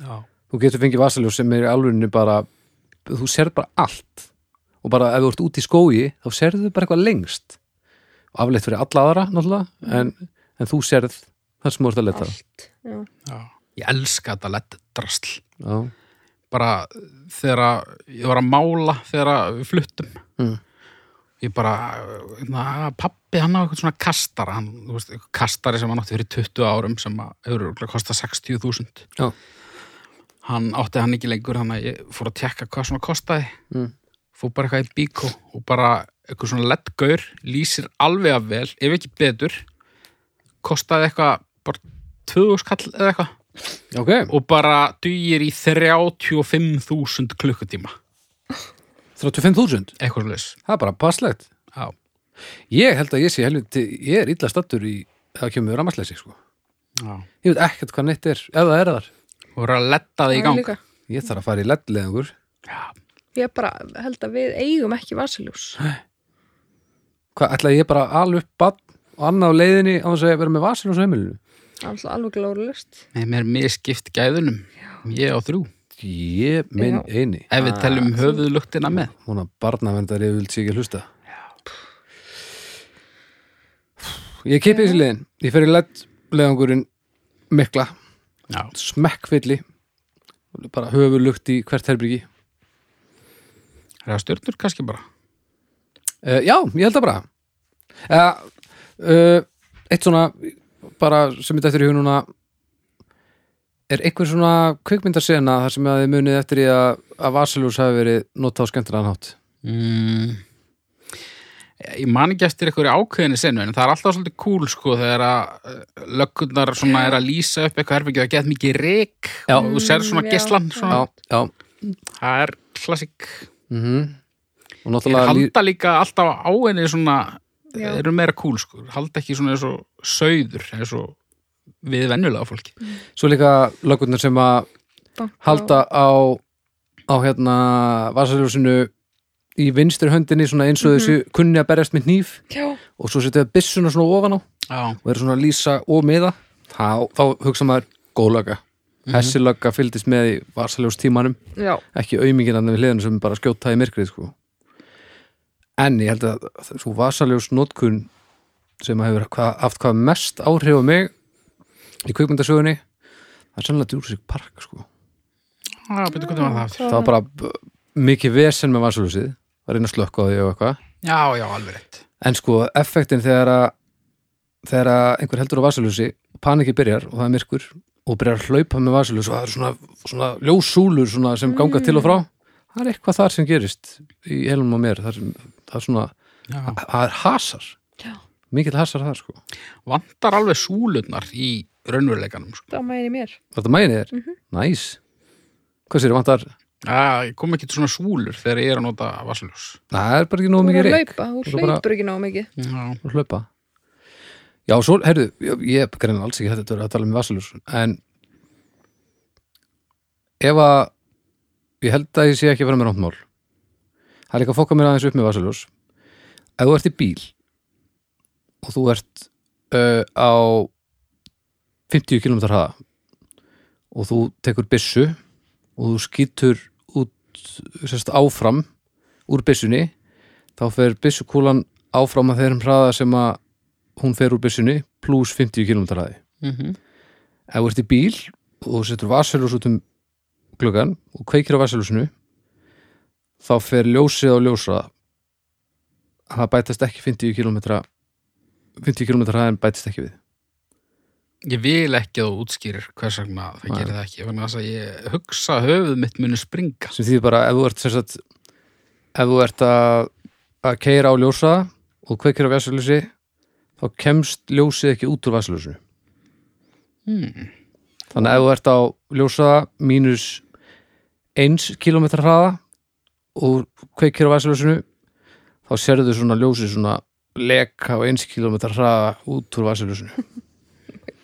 Já. þú getur fengið vasaljós sem er í alvörinu bara þú serð bara allt og bara ef þú ert út í skói þá serðu bara eitthvað lengst og afleitt fyrir alla aðra náttúrulega en, en þú serð þar sem þú ert að leta allt, já, Ég elska þetta lett drasl. já, Bara þegar að ég var að mála þegar að við fluttum. Mm. Ég bara, na, pappi hann á eitthvað svona kastara, hann, þú veist, einhver kastari sem hann átti fyrir 20 árum sem að hefur örugglega kostað 60.000. já, Hann átti hann ekki lengur, þannig að ég fór að tekka hvað svona kostaði. Mm. Fór bara eitthvað í bíkó og bara eitthvað svona lettgaur lýsir alveg að vel, ef ekki betur, kostaði eitthvað bara 20 skall eða eitthvað. ok og bara dugir í 35.000 klukkutíma 35.000, eitthvað slags það er bara passlegt já. ég held að ég sé helviti, ég er illa stattur í það kemur rammarsleysi sko Já. ég veit ekkert hvað neitt er, ef það er þar og voru að letta það í Það er gang líka. ég þarf að fara í leddleðingur já. ég bara held að við eigum ekki vasaljós hvað, ætla ég bara að ala upp bann og annað á leiðinni á þess að vera með vasin á þessu heimilinu Alltaf alveg glórulust. Nei, mér er miskipt gæðunum. Ég á þrjú. ég minn Já. eini Ef við teljum höfuðlugtina með. hún að barnaverndar ég vil sé ekki að hlusta ég kipi þessi leiðin ég fer í lett leiðangurinn mikla, Já. smekkfylli bara höfur lukt í hvert herbyggi Er það stjörnur kannski bara? Uh, já, ég held það bara uh, uh, Eitt svona bara sem þetta eftir í hugnuna er einhver svona kvikmyndarsena þar sem að þið munið eftir í að, að Vasilús hafi verið notað á skemmtilegan hátt Mm. Ég man ekki eftir einhverju ákveðinu senu en það er alltaf svolítið cool sko þegar að eh, löggurnar svona er að lýsa upp eitthvað herfingið að geta mikið reik Já. og þú sér svona Mm, já, geslan já. svona. Já, já Það er klassik. mm Og Þeir náttúrulega lí... halda líka alltaf á henni svona, Já. þeir eru meira cool sko. Halda ekki svona eins og sauður eins og við venjulega fólki. svo líka löggurnar sem að Banka á- halda á á hérna Vasilúsinu í vinstri höndinni svona eins og þessu kunni að berjast með hníf Já, og svo setja byssuna svona ofan á Já. og eru svona að lýsa og miða þá, þá hugsa maður góð lögga þessi lögga fylgdist með í varsaljós tímanum já, ekki auðmingin annað við hliðinu sem bara skjóta í myrkrið sko. en ég held að svo varsaljós notkun sem hefur hva, haft hvað mest áhrif á mig í kvikmyndasögunni það er sannlega Jurassic Park sko. Já, betur hvernig var það aftur. það Mhm. var bara b- mikið vesen með varsaljósið að reyna að slökka á því og eitthvað Já, já, alveg rétt. En sko, effektin þegar að þegar að einhver heldur á vasaljósi paniki byrjar og það er myrkur og byrjar að hlaupa með vasaljós og það er svona, svona ljósúlur svona sem ganga til og frá Mm. það er eitthvað þar sem gerist í helum á mér, það er, það er svona Já. það er hasar, já, mikill hasar það sko Vantar alveg súlurnar í raunveruleikanum sko. það mæri mér. Var þetta maginn þér? Mhm. Mm -hmm. Næs Hvað sér, vantar? Já, ég kom ekki til svona súlur þegar ég er að nota vasaljós. Það er bara ekki nóg Þú mikið er að reik hlaupa, Þú þú er bara- hlaupur ekki náðu mikið. Já. og hlaupa Já, svo, heyrðu, ég, ég greina alls ekki þetta að tala um vasalur, en ef að ég held að ég sé ekki að vera með ráttmál það er líka að fokka mér aðeins upp með vasalur ef þú ert í bíl og þú ert uh, á 50 km hraða og þú tekur byssu og þú skýtur út sérst, áfram úr byssunni þá fer byssukúlan áfram að þeirrum hraða sem að hún fer úr byssunni pluss 50 km hraði Mm mhm. -hmm. ef þú ert í bíl og þú setur vasalús út um gluggan og kveikir á vasalúsinu þá fer ljósið á ljósa það bætast ekki 50 km 50 km hraðin bætist ekki við Ég vil ekki að þú útskýrir hvers vegna það Nei. gerir það ekki vegna þess að ég hugsa að höfuð mitt muni springa sem þýðir bara ef þú ert sem sagt, ef þú ert að, að keira á ljósa og kveikir á vasalúsi þá kemst ljósið ekki út úr vasalúsinu hmm. Þannig að ef þú ert á ljósa mínus 1 km hraða og kveikir á vasaljósinu þá sérðu svona ljósið svona leka á 1 km hraða út úr vasaljósinu.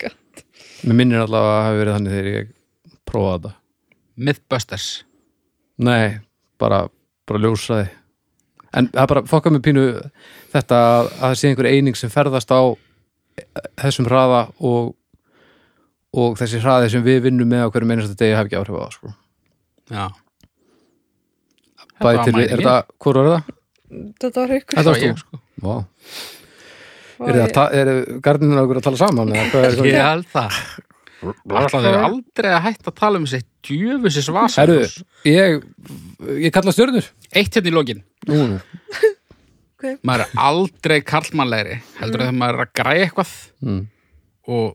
God. Mér minnir allavega að það hafi verið þannig þegar ég prófaði þetta. Mythbusters Nei, bara, bara ljósaði. En það bara fokkar mér pínu þetta að að það sé einhver eining sem ferðast á þessum hraða og, og þessi hraði sem við vinnum með á hverjum einasta degi hafi ekki áhrif á það, sko. Já Bætir við, er það, hvor er það? Þetta var haukur. Þetta Þetta varst var ég þú? sko Vá. Er það, ta- eru gardinir okkur að tala saman? eða hvað er það? Ég held það Alltaf þau aldrei að hætta að tala um þessi djöfusis Herru, vasaljós ég, ég kalla stjörnur. Eitt hérna í lokin Nú, nú. Maður er aldrei karlmannlegri heldur mm. þegar maður er að græja eitthvað Mm. og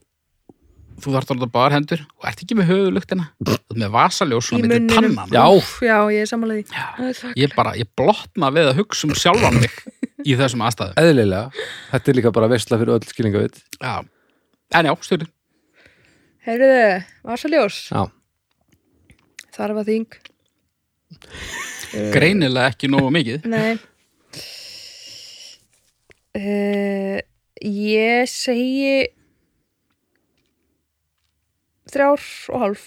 þú þarft að láta báðar hendur og ert ekki með höfuðlugtina þú ert með vasaljós Í svona myndi munninum. pannan Já, Úff, Já, ég er samanlega því. Það er Ég bara, ég blotna við að hugsa um sjálfan mig í þessum aðstæðum eðlilega. Þetta er líka bara veistla fyrir öll skilningavit. Já, en já, stjórnir Herriði, vasaljós. Já. Þarf að þing. Greinilega ekki nógu mikið Nei. Uh, ég segi þrjár og hálf.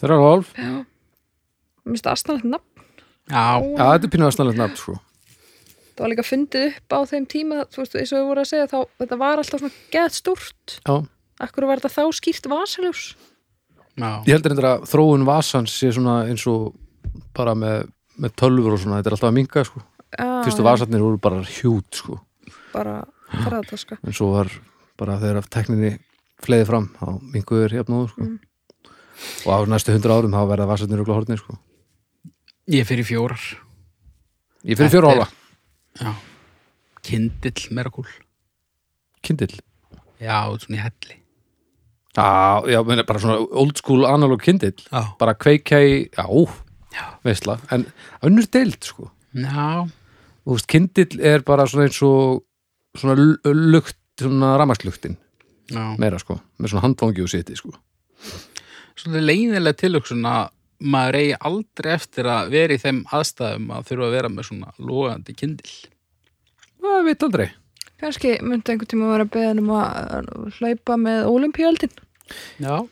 Þeirra hálf. Já. Mér finnst aðstæðanlegt nafn. Já, Já, þetta er pínu aðstæðanlegt nafn, sko. það var líka fundið upp á þeim tíma þú veist, eins og við vorum að segja þá þetta var alltaf svona geðt stúrt Já. akkur var þetta þá skýrt vasaljós Já. Ég heldur endur að þróun vasans sé svona eins og bara með, með tölfur og svona, þetta er alltaf að minga sko. Fyrstu vasarnir voru bara hjút sko. Ah, bara ferðataska en svo var bara þegar af tekninni fleiði fram, þá minguður jafnúður sko. Mm. og á næstu hundra árum þá verða vasarnir og hornir sko. Ég fyrir fjórar. Ég fyrir fjóra Þetta er- ála, Já. Kindill merakúl. kindill Já, svona í helli. Já, já, meni, bara svona old school analog kindill Já. bara kveikja í, já, Já. veistla en önnur deild sko Já. Þú veist, kindill er bara svona eins og svona l- lukt, svona ramastluktin Já. meira sko, með svona handfangi og seti sko Svolítið leiðinlega tilhugsun að maður eigi aldrei eftir að vera í þeim aðstæðum að þurfa að vera með svona logandi kindill. Það veit aldrei kannski myndi einhvern tíma að vera beðin um að hlaupa með olimpíaldin Já.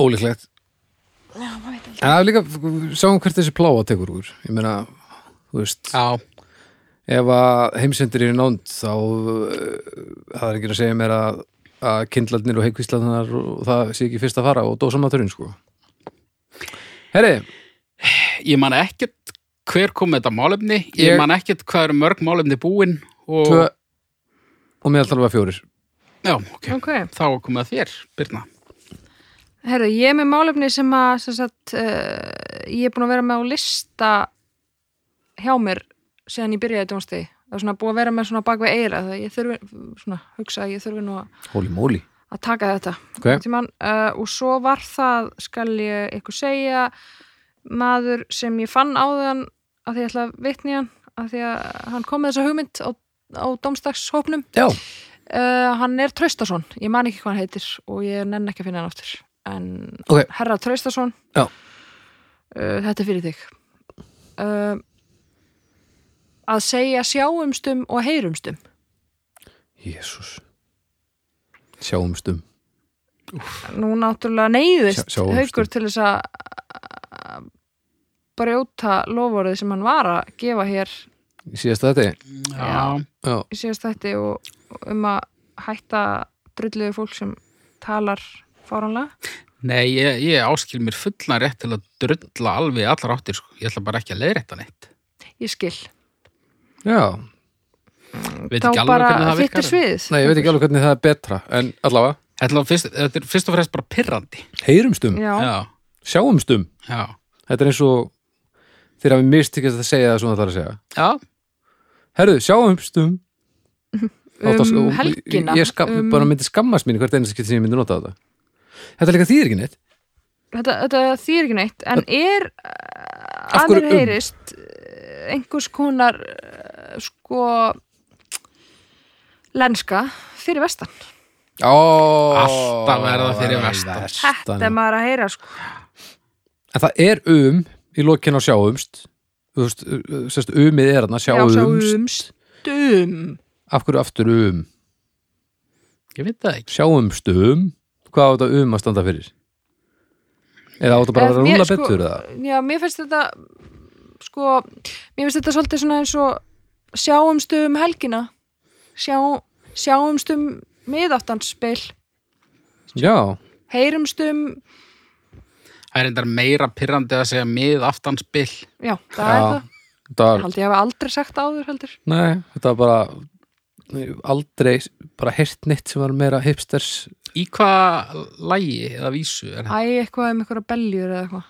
Ólíklegt já, maður veit aldrei En það er líka, sjáum hvert þessi pláa tekur úr Ég meina, þú veist Já. ef að heimsendir eru nánd þá uh, það er ekki að segja mér að, að kindlarnir og heikvíslarnar og það sé ekki fyrst að fara og dósamaturinn sko Herri, Ég man ekkert hver kom með þetta málefni. Ég, Ég- man ekkert hvað eru mörg málefni búin og... tvö og meðaltal var fjórir Já, ok. ok, Þá komið að þér, Birna. herru, ég er með málefni sem að sem sagt, uh, ég er búin að vera með á lista hjá mér síðan ég byrjaði djónstegi það er svona búið að vera með svona bak við eira það ég þurfi, svona, hugsa að ég þurfi nú að- Hóli móli að taka þetta okay. tíman, uh, og svo var það skal ég ykkur segja maður sem ég fann á þann að því ég ætla að vitni hann að því að hann kom með þessa hugmynd á, á domstagshópnum Já, uh, hann er Traustason, ég man ekki hvað hann heitir og ég nenn ekki að finna hann aftur en Ok. herra Traustason Já. Uh, þetta er fyrir þig uh, að segja sjáumstum og heyrumstum jésús Sjáumstum nú náttúrulega neyðist Sjá- sjáumst haukur við. til þess að að brjóta lofórið sem hann var að gefa hér Síðast þetta er Já. Já, í síðast þætti og og um að hætta brulluðu fólk sem talar fáranlega Nei, ég, ég áskil mér fullan rétt til að drulla alveg í allar áttir, sko. Ég ætla bara ekki að leiðrétta neitt. ég skil, já. Veit þá ekki alveg bara hvernig það þitt virkar. er sviðið Nei, ég veit ekki alveg hvernig það er betra en allavega, Þetta er fyrst, þetta er fyrst og fremst bara pirrandi. heyrumstum, já, Já. sjáumstum Já. Þetta er eins og þegar við mistikist að segja það svona það er að segja Já. Herðu, sjáumstum Áttast- um og- helgina Ég skam, um, bara myndi skammast mín hvert einasta skipti sem ég myndi nota þetta Þetta er líka þýðir ekki neitt þetta, þetta þýr ekki neitt en er Af aður hverju um? heyrist eh, einhvers konar eh, sko lenska fyrir vestan Ó, Alltaf er það fyrir vestan. þetta er maður að heyra sko En það er um í lokin á sjáumst Þú veist, uh, sérst, umið er þarna já, um sjáumst, sjáumst dum Af hverju aftur um Ég veit það ekki. Sjáumstum Hvað á þetta um að standa fyrir? Eða á þetta bara að vera Eh, að mér, rúla sko, betur eða? já, mér finnst þetta sko, mér finnst þetta svolítið svona eins og sjáumst um helgina Sjá, sjáumst um miðaftansspil Já, heyrumst um Það er endar meira pirrandi að segja mið aftanspill. já, það er já það Þetta var, Haldi ég hafa aldrei sagt áður heldur nei, þetta var bara aldrei bara heyrt neitt sem var meira hipsters Í hvaða lægi eða vísu er það? Æ, eitthvað um eitthvað beljur eða eitthvað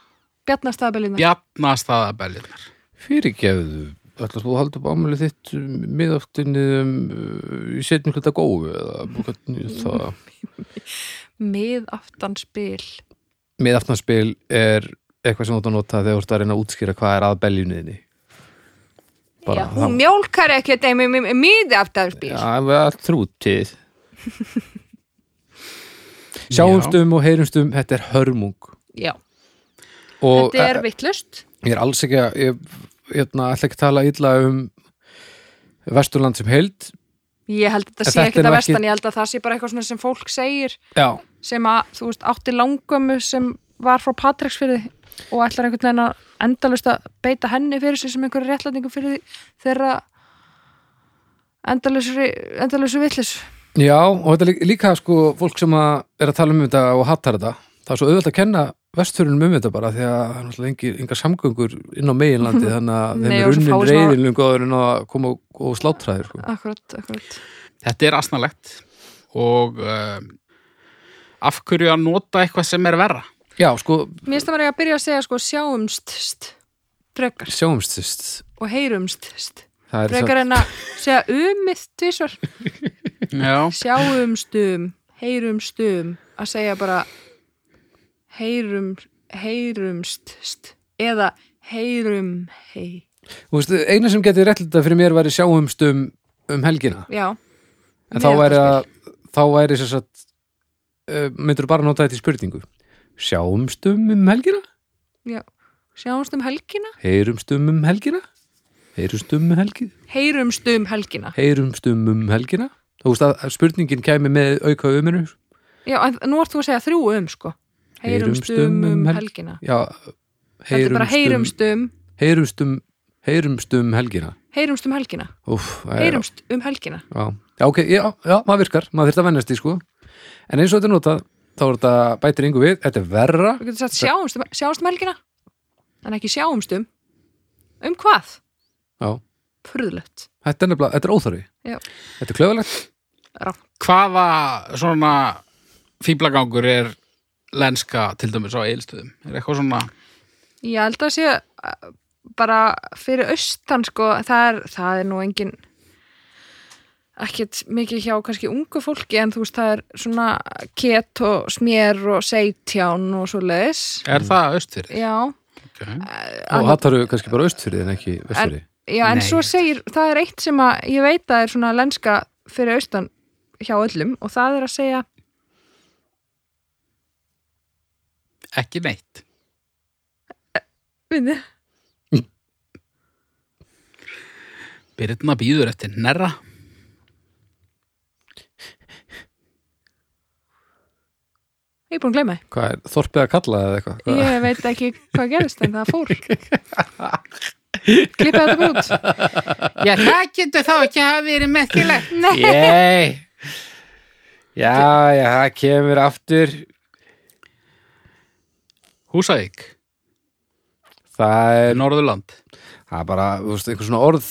Bjarnarstaðabeljunar Bjarnastaðabeljunar. Fyrirgefðu, ætlast þú að halda upp ámæli þitt miðáttinni um, uh, í setjum hluta góðu eða hvernig það Miðaftanspil Miðaftanspil er eitthvað sem þú ert að nota þegar þú ert að reyna að útskýra hvað er að beljunniðinni Já, hún mjólkar ekkert þeim um miðaftanspil Já, við erum þrútið Sjáumstum um og heyrumstum, þetta er hörmung Já, og eh, þetta er vittlust ég er alls ekki að ég, hérna, ætla ekki að tala illa um Vesturland sem heild Ég held að En þetta sé þetta er ekkert að nú ekki- vestan Ég held að það sé bara eitthvað svona sem fólk segir Já, sem að, þú veist, átti langömmu sem var frá Patræksfyrði og ætlar einhvern veginn að endalust að beita henni fyrir sig sem einhverju réttlætingu fyrir því þeirra endalösu villis Já, og þetta er lí- líka sko fólk sem að er að tala um þetta og hattar þetta það er svo auðvitað að kenna vestfjörunum um þetta bara því að það er náttúrulega engir, engar samgöngur inn á meginlandi þannig að þeim Nei, er og svo fáir unnin sem að- reyðin lungu áður en að koma og, og slátra þér sko. akkurat, akkurat Þetta er asnalegt og uh, af hverju að nota eitthvað sem er verra? Já, sko, Mér finnst það maður eiga að byrja að segja sko sjáumst st, frekar sjáumst sýst og heyrumst st, Það er frekar en að segja umið tvisvar Já, sjáumstum, heyrumstum að segja bara heyrum, heyrumst st, eða heyrum hei, Þú veist, eina sem getið réttlita fyrir mér væri sjáumst um, um helgina já en þá Mér væri, finnst að, þá væri sér satt uh, myndur bara nota þetta í spurningu sjáumst um um helgina já. sjáumst um helgina heyrumst um um helgina heyrumst um um helgina heyrumst um helgina heyrumst um um helgina þú veist að spurningin kæmi með auka uminu já, en nú ert þú að segja þrjú um sko heyrumst um um hel- helgina já, þetta er bara heyrumst um heyrumst um heyrumst um helgina heyrumst um helgina, Úf, heyrumst um helgina já, já, ok, já, já, maður virkar maður þurft að vennast í sko en eins og þetta er notað, þá er þetta bætir yngu við þetta er verra, Við getum sagt sjáumst um, sjáumst um helgina en ekki sjáumst um um hvað? já, Furðlegt, þetta er nefnilega, þetta er óþarfi Já. þetta er klöfulegt, rátt hvaða svona fýblagangur er lenska til dæmis á eilstöðum? Er eitthvað svona, Ég held að sé uh, bara fyrir austan sko, það er, það er nú engin ekkert mikið hjá kannski ungu fólki en þú veist það er svona ket og smér og seitján og svo leiðis er það austfyrir? Já, Okay. og hattaru kannski bara austfyrið en ekki vestfyrið já en Nei. svo segir, það er eitt sem að ég veit að er svona lenska fyrir austan hjá öllum og það er að segja Ekki neitt. Vinni, Byrna býður eftir nærra. ég er búin að gleyma því. hvað er, þorpið að kalla eða eitthvað Hvað- Ég veit ekki hvað gerðist en það fór Klippa þetta bara út Já, það getur þá ekki að hafa verið merkilegt. Nei, Jæj Já, já, það kemur aftur Húsavík, Það er, Norðurland. það er bara, þú veist, einhver svona orð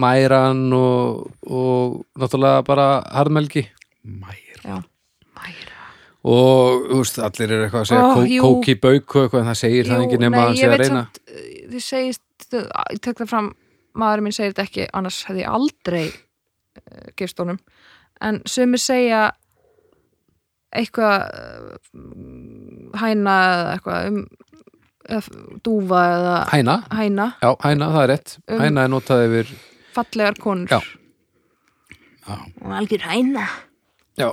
Mæran og, og náttúrulega bara harðmelgi Mæra. já, mæra og, þú veist, allir eru eitthvað að segja Ó, kó, jú. kóki bauk og eitthvað en það segir það enginn nema að hann segja að reyna samt, uh, þið segist, þau- ég tek það fram maðurinn minn segir þetta ekki, annars hefði ég aldrei uh, gefst honum en sumir segja eitthvað uh, hæna eða eitthvað um eða f- dúfa eða Hæna, hæna, já, hæna, það er rétt Um. Hæna er notað yfir, fallegar konur Já. Já. Hún er algjör hæna já,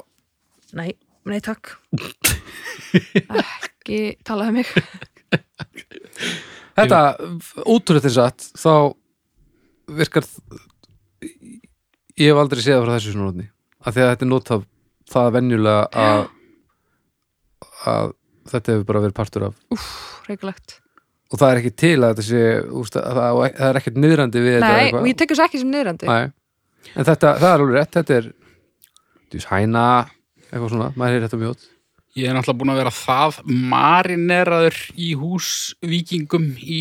Nei, nei takk Ekki talaði mig þetta útrúttir satt, þá virkar ég hef aldrei séð það frá þessu svona rótni af því að þetta er notað það venjulega að, að þetta hefur bara verið partur af Rekulegt og það er ekki til að þetta sé úst, að það, á- e- það er ekkert niðrandi við þetta Nei, eitthvað. og ég tek þessu ekki sem niðrandi Nei. en þetta, það er alveg rétt þetta er djús hæna eitthvað svona, maður er þetta mjög ótt Ég er náttúrulega búin að vera það marineraður í húsvíkingum í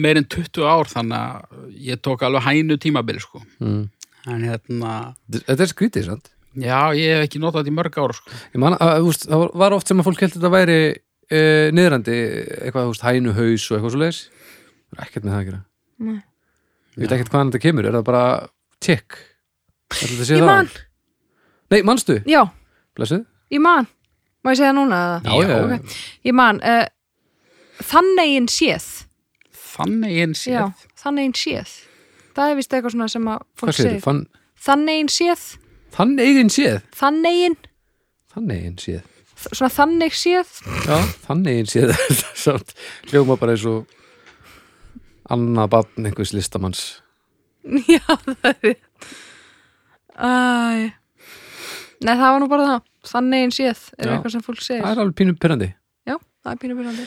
meirinn 20 ár þannig að ég tók alveg hænu tímabil sko. mm. En hérna, þetta er skrítið, sant? já, ég hef ekki notað þetta í mörg ára sko. Ég Man, að, úst, það var- var oft sem að fólk heldur þetta væri e, niðrandi, eitthvað úst, hænu haus og eitthvað svo leiðis ekkert með það að gera Nei. ég veit ekkert hvaðan þetta kemur, er það bara tjekk Ég man, Nei, manstu, já, blessuð ég man Má ég segja það núna eða? Já, já. ok. Ég man, uh, þannegin séð Þannig eins Já, ég. þannegin séð Það er vist eitthvað svona sem að Hvað fólk segir segir þú? Þannegin séð, Þann eigin séð þannegin Þann eigin séð þ- Svona þannig séð Já, þannig einn séð þetta samt hljóma bara eins og annað barn einhvers listamanns Já, það er rétt. Æ. Nei, það var nú bara það. Þannig einn séð er Já. eitthvað sem fólk segir. Það er alveg pínum pyrrandi Já, það er pínu byrjandi.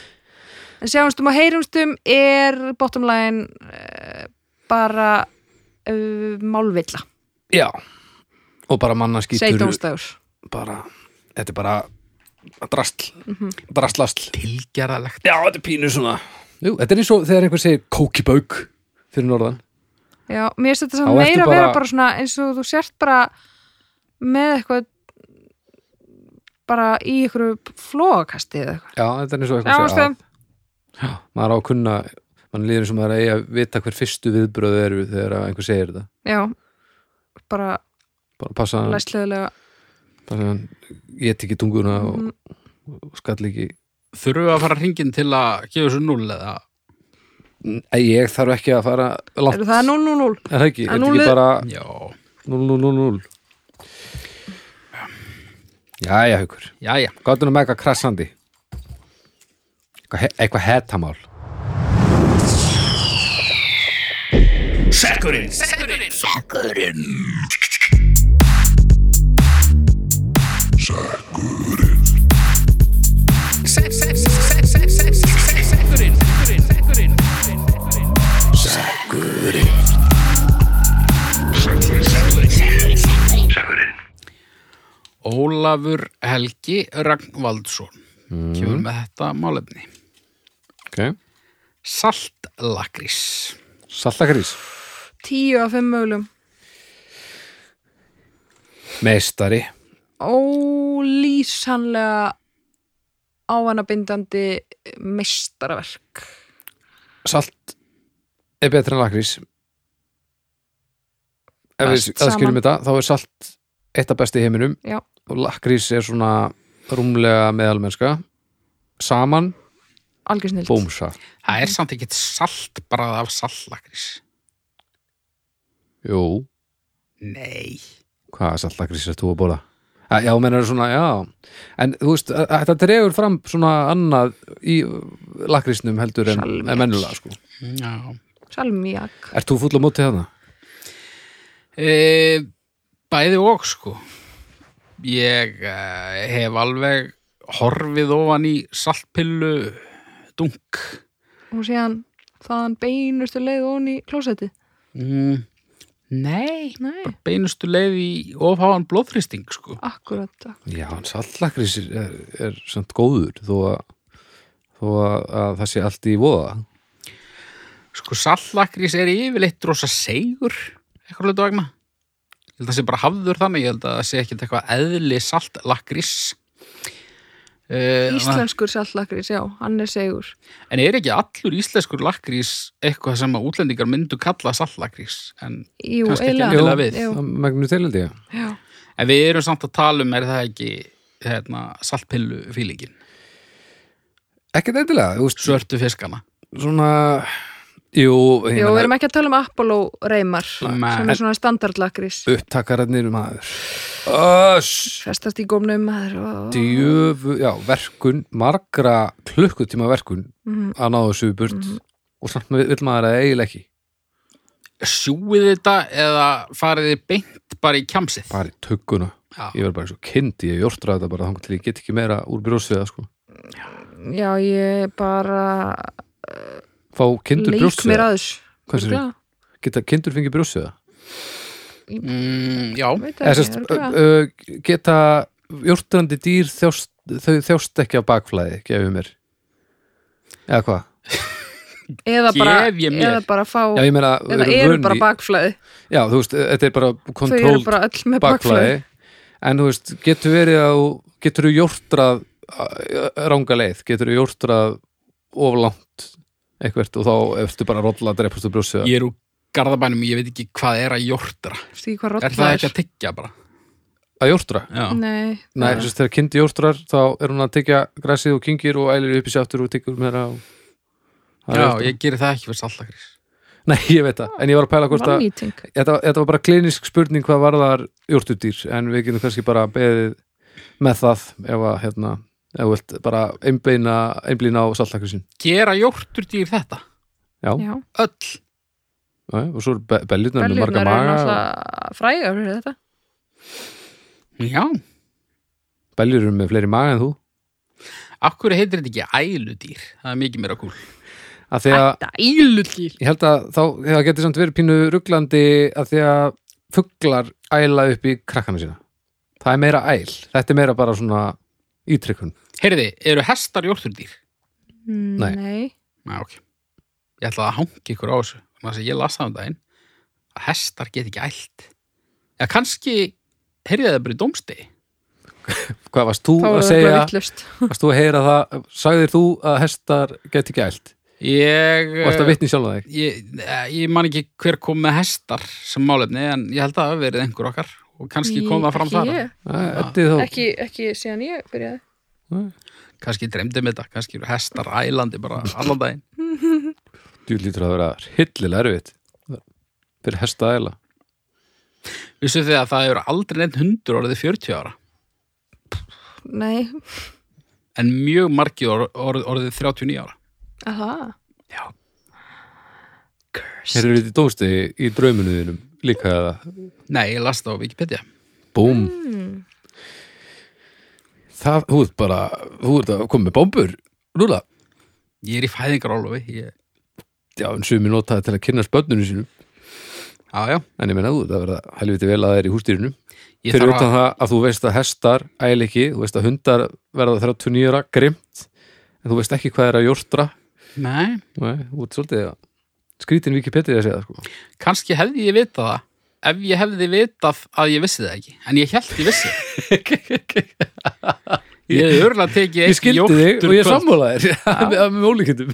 En sjáumstum og um heyrumstum er bottom line uh, bara uh, eh, málvilla. já og bara manna skýtur Seidónstæður bara, þetta er bara drastl, Mhm. drastlastl Tilgerðalegt. já, þetta er pínu svona Jú, þetta er eins og þegar einhver segir kókibauk fyrir norðan Já, mér finnst þetta Þá samt ertu meira að vera bara- bara svona eins og þú sért bara með eitthvað bara í einhverju flóakasti eða eitthvað. já, þetta er eins og Já, eitthvað ástæðum. já, maður á að kunna mann líður eins og maður eigi að vita hver fyrstu viðbröð eru þegar að einhver segir þetta Já, bara bara passa hann, læslegulega. passa hann ég tek ekki tunguna og, Mhm. og skall ekki Þurfum við að fara hringin til að gefa þessu null eða? Nei, ég þarf ekki að fara langt Eru það 0-0-0? er það ekki, að er þetta núllið- ekki bara Já. 0-0-0-0 Jæja, haukur Jæja. Hvað er nú með eitthvað krassandi? Eitthvað he- Eitthvað hetamál Ólafur Helgi Ragnvaldsson kemur með þetta málefni. okay. Saltlakrís. Sallakrís 10 af 5 mögulum. Meistari Ólýsanlega ávanabindandi meistaraverk. Salt er betra en lakrís Ef við Best aðskilum saman. þetta þá er salt eitt af besti í heiminum Já. og lakrís er svona rúmlega meðalmennska saman, Algjör snilt. bómsa Það er samt ekkert saltbrað af saltlakrís. Jú, Nei. hvað sallakrís er þú að bóla? Já, menn eru svona, já en þú veist, að- að þetta dregur fram svona annað í lakrísnum heldur en, Salmiak. en mennulega sko. Já. Salmiak. Ert þú full á móti þarna? E, bæði og sko. Ég e, hef alveg horfið ofan í saltpillu dunk. Og síðan þaðan beinustu leið ón í klósetti. Mm, nei. Nei, Beinustu leið í ofháan blóðfristing sko. akkurat, akkurat. Já, en sallakrís er, er, er samt góður þó að, þó að, að það sé allt í voða Sko sallakrís er yfirleitt rosa segur eitthvað hlutu vegna. Ég held að það sé bara hafður þannig, ég held að það sé ekkert eitthvað eðli saltlakrís. Uh, Íslenskur saltlakrís, já, hann er segur. En er ekki allur íslenskur lakrís eitthvað sem að útlendingar myndu kalla saltlakrís? En, Jú, Kannski ekki eiginlega. endilega við. Jú, Það megnu til held ég já. en við erum samt að tala um, er það ekki hérna, saltpillu fílingin, Ekkert endilega, þú veist, svörtu fiskana? svona Jú, ég Jú, við meina, erum ekki að tala um Apollo reymar Nei. sem er svona standardlakrís upptakararnir maður Öss festast í gómnum maður og- djöfu, já, verkun margra klukkutíma verkun Mhm. að ná þessu í burt og samt með vill maður að eiginlega ekki Sjúið þetta eða farið þið beint bara í kjamsið? bara í tökkuna, Já, ég verð bara eins og kind ég jórtraði þetta bara þangar til ég get ekki meira úr brjósviða sko, Já, ég bara fá kindur leik mér brjósviða að þess Hvað segirðu? Örugglega. geta kindur fengið brjósviða mm, já. Veit það Eða, ekki, sérst, örugglega. ö, ö, geta jórtrandi dýr þjást, þau þjást ekki af bakflæði, gefið mér eða hvað? eða bara, Gef ég mér. eða bara fá Já, ég meina, við eða eru vön bara í- bakflæði Já, þú veist, e- þetta er bara þau eru kontróld bara öll með bakflæði bakflæði en þú veist, getur verið að þú- getur þú jórtrað ranga leið, getur þú jórtrað of langt eitthvert og þá ertu bara að rolla að drepast og brjósið Ég er úr garðabænum, ég veit ekki hvað er að jórtra. Veistu ekki hvað Er það rottvæðir ekki að tyggja bara? að jórtra Já. Nei, Nei, þú veist, þegar kindi jórtrar þá er hún að tekja græsið og kynkir og ælir upp í sjáttur og tekur meira og... Það er Já, jórtra. ég gerir það ekki fyrir saltlakrís. Nei, ég veit það, en ég var að pæla hvort að vannýting þetta, þetta var bara klinisk spurning hvað varðar jórtudýr, en við getum kannski bara beðið með það ef að, hérna, ef þú vilt bara einblýna, einblýna á saltakrisinn Gera jórtur dýr þetta? Já, já. Já, Öll? og svo eru be belljurnar með marga beljurnar eru maga og- náttúrulega frægar fyrir þetta Já. Beljur eru með fleiri maga en þú Akkur heitir þetta ekki æludýr? Það er mikið meira kúl. að því að Þetta ílutýr ég held að þá, það getur samt verið pínu rugglandi að því að fuglar æla upp í krakkana sína það er meira æl, þetta er meira bara svona ítrykkun Heyrði, eru hestar jórturdýr? Mm, Nei. Nei. Já, ok. Ég ætlaði að hangi ykkur á þessu. Þannig að ég las það um daginn að hestar get ekki ælt. Eða kannski, heyrði það bara í dómstegi. hvað varst þú Þá að er það segja, vittlust. varst þú að heyra það sagðir þú að hestar geti ekki ælt Ég... eh, og varst að vitni sjálf að þig Ég, eh, ég man ekki hver kom með hestar sem málefni, en ég held að það hafi verið einhver okkar og kannski kom það fram þar. Ég, Ætti þá, ekki, ekki síðan ég byrjaði. Kannski dreymdi mig þetta, kannski eru hestar ælandi bara allan daginn. þú lítur að vera hillilega erfitt fyrir hesta að æla Vissu þið að það eru aldrei neitt hundur orðið 40 ára, Nei. en mjög margið or, or, orðið 39 ára. Aha. Já. Curse. Þeir eru lítið dósti í draumunuðinum líka eða Nei, ég las það á Wikipedia. Búm Hmm. Það, þú ert bara, þú ert að koma með bómbur Lúla, Ég er í fæðingarólofi, ég... já, en sumi notaði til að kynna spönnunum sínum Já, já. En ég menna þú, það verða helviti vel að það er í hústýrinu Ég Fyrir þarf utan að, það að þú veist að hestar æl ekki, þú veist að hundar verða 39 ára, grimt En þú veist ekki hvað er að jórtra nei, Nei, þú ert svolítið að skrítin Wikipedia að segja það sko kannski hefði ég vitað það ef ég hefði vitað að ég vissi það ekki en ég held ég vissi það. ég hefði örgulega tekið Ég eitt skildi þig jórtur og ég kvöld. sammála þér með, með ólíkindum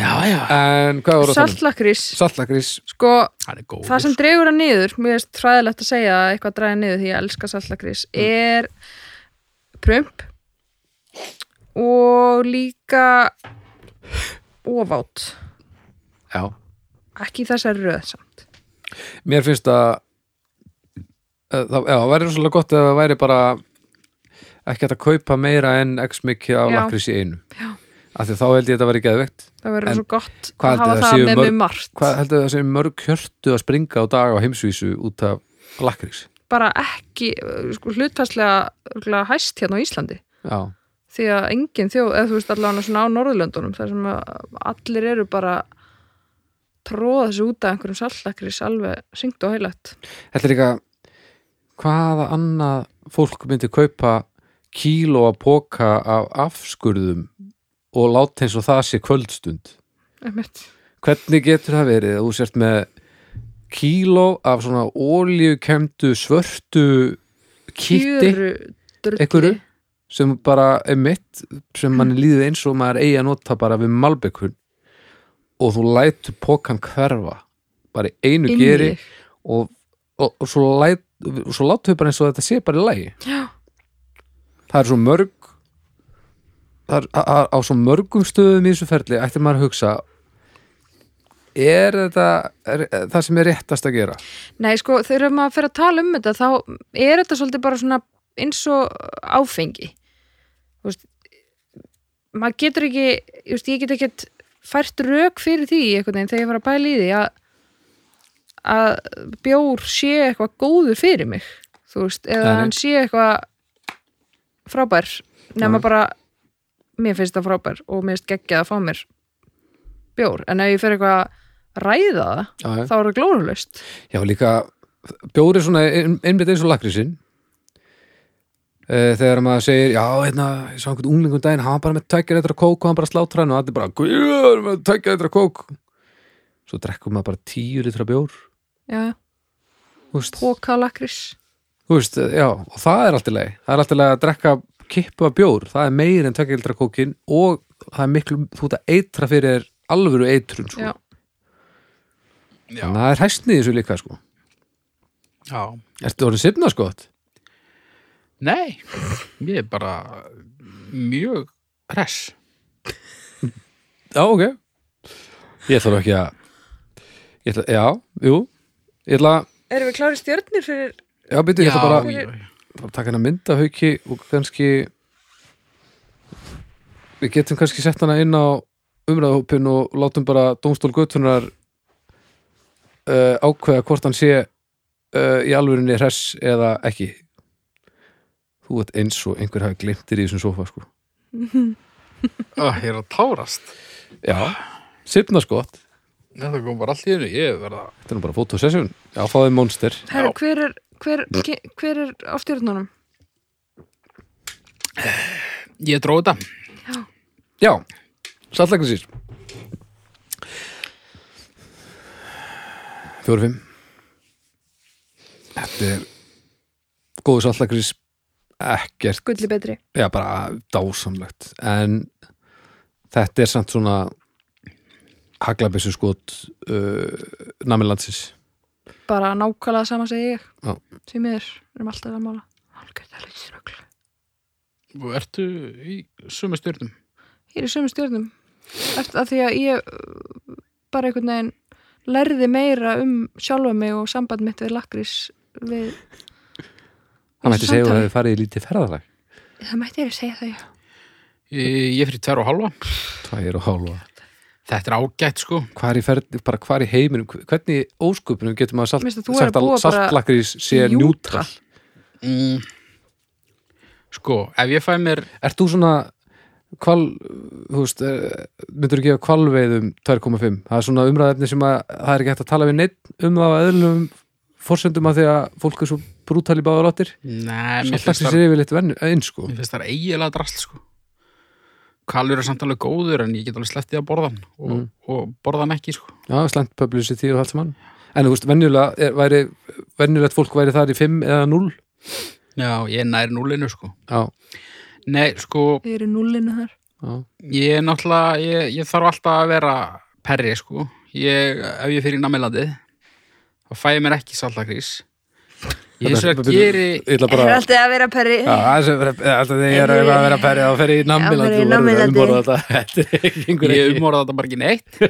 já, já, En hvað voru að tala um? Saltlakrís. Saltagrís Sko, það er góð það sem dregur hann niður, mér er træðilegt að segja að eitthvað dræði niður því ég elska saltlakrís, er prump og líka ofátt. Já, Ekki í þessari röð samt. mér finnst að að það já, það væri rosalega gott ef það væri bara ekki hægt að kaupa meira en x mikið af Já. lakrís í einu af því þá held ég að þetta væri geðvegt Það verður En svo gott hvað að hafa heldur það það séu með mörg- mjög margt. hvað heldur það sem mörg hjörtu að springa á dag á heimsvísu út af lakrís Bara ekki, uh, sko, hlutfærslega örugglega hæst hérna á Íslandi. já, því að engin þjóð, eða þú veist allavega svona á Norðurlöndunum þar sem að allir eru bara tróða þessu út af einhverjum sallakris alveg syngt og heilætt þetta er líka hvaða annað fólk myndi kaupa kíló að póka af afskurðum og láta eins og það sé kvöldstund einmitt, hvernig getur það verið að þú sért með kíló af svona ólíukemdu svörtu kitti kjöru drulli einhverju sem bara er mitt sem mann líður eins og maður eigi að nota bara við malbyggkun og þú lætur pokan hverfa bara í inn einu í geri þig. og, og, og svo, læt, og svo látur við bara eins og þetta sé bara í lagi Já. það er svo mörg það er, á, á- á svo mörgum stöðum í þessu ferli ættir maður að hugsa er þetta er, það sem er réttast að gera Nei, sko, þegar maður fer að tala um þetta þá er þetta svolítið bara svona eins og áfengi Þú veist, maður getur ekki þú veist, ég get ekkert fært rök fyrir því einhvern veginn þegar ég var að pæla í því að, að bjór sé eitthvað góður fyrir mig þú veist, eða Nei, nei. hann sé eitthvað frábær nema Nei. bara mér finnst það frábær og mér finnst geggjað að fá mér bjór, en ef ég fer eitthvað að ræða það, Já, þá er það glórulaust Já, líka bjóri svona ein- einmitt eins og lakrísinn Eh, þegar maður segir, já, hérna, ég sá einhvern unglingum daginn, hann var bara með tækja eitthvað kók og hann bara slátra hann og allir bara, guður, með tækja eitthvað kók svo drekkum maður bara tíu litra bjór Já, já þú veist, pókalakris þú veist, já, og það er allt í leið það er allt í leið að drekka kippu af bjór það er meir en tækja litra kókin og það er miklu, þú ert að eitra fyrir þér alvöru eitrun, sko Já. Já. þannig að það er hæstnið í þessu líka, sko já. Ertu orðin sifna, sko? nei, ég er bara mjög hress Já, ok Ég þarf ekki að ég ætla, Já, jú Ég ætla, Erum við klárið stjörnir fyrir já, byrju, ég ætla bara já, já. bara að taka hana mynd af hauki og kannski við getum kannski sett hana inn á umræðahópin og látum bara Dómstól Götunar uh, ákveða hvort hann sé uh, í alvörinni hress eða ekki Þú ert eins og einhver hafi glimtir í þessum sofa sko Ó, ég er að tárast Já, sifna skott Þetta kom bara allt í þessu, ég verða Þetta er nú bara fotosession Já, fáðið monster Herru, hver er, hver, ge- hver er á stjórnunum? Ég dróði þetta Já, Já, saltlæknisýr Fjóru fimm Þetta er góðu saltlæknisýr ekkert gulli betri. já, bara dásamlegt en þetta er samt svona haglabessu skot uh, namilandsins Bara nákvæmlega sama segi ég. Já. Því miður, við erum alltaf að mála. Hálfgjörð, það er ekki ströggl. Og ertu í sumu stjörnum? Ég er í sömu stjórnum. Eftir að því að ég uh, bara einhvern veginn lærði meira um sjálfa mig og samband mitt við lakrís við... hann mætti segja að það Samtali. hefði farið í lítið ferðalag Það mætti ég að segja það, já. Ég, ég fyrir tver og halva tvær og hálfa Þetta er ágætt sko hvar í, ferð, bara hvar í heiminum, hvernig í ósköpunum getur maður salt, Mér finnst að þú er sagt að að búa bara saltlakrís sé neutral. njútral mm. Sko, ef ég fæ mér Ert þú svona kval, þú veist, eh, myndur þú gefa kvalveiðum 2,5? Það er svona umræðefni sem að það er ekki hægt að tala við neitt um það á öðlum forsendum að því að fólk er svo brútal í báða láttir. Nei, mér finnst Saltlaxis það Mm. er yfirleitt venn, einn sko. Mér finnst það eiginlega drast sko Kalur er samt alveg góður en ég get alveg slepptið að borða hann og, Mm. og borða hann ekki sko Já, slant publicity og allt saman. En þú veist, venjulega er, væri, venjulegt fólk væri þar í 5 eða 0. Já, ég er nær núlinu sko Já, Nei, sko, Við erum nullinu þar. já. ég er náttúrulega ég, ég þarf alltaf að vera perri sko ég, ef ég fyrir namilandið þá fæ ég mér ekki saltakrís ég eins og Þetta að er- geri Ég ætla bara... alltaf að vera perri. Já, það sem er alltaf því ég er að vera að ferja og ferja Já, fer í í namilandi og verður að námilandi. umborða þetta. Þetta er ekki einhver ég um- ekki. umorða þetta bara ekki neitt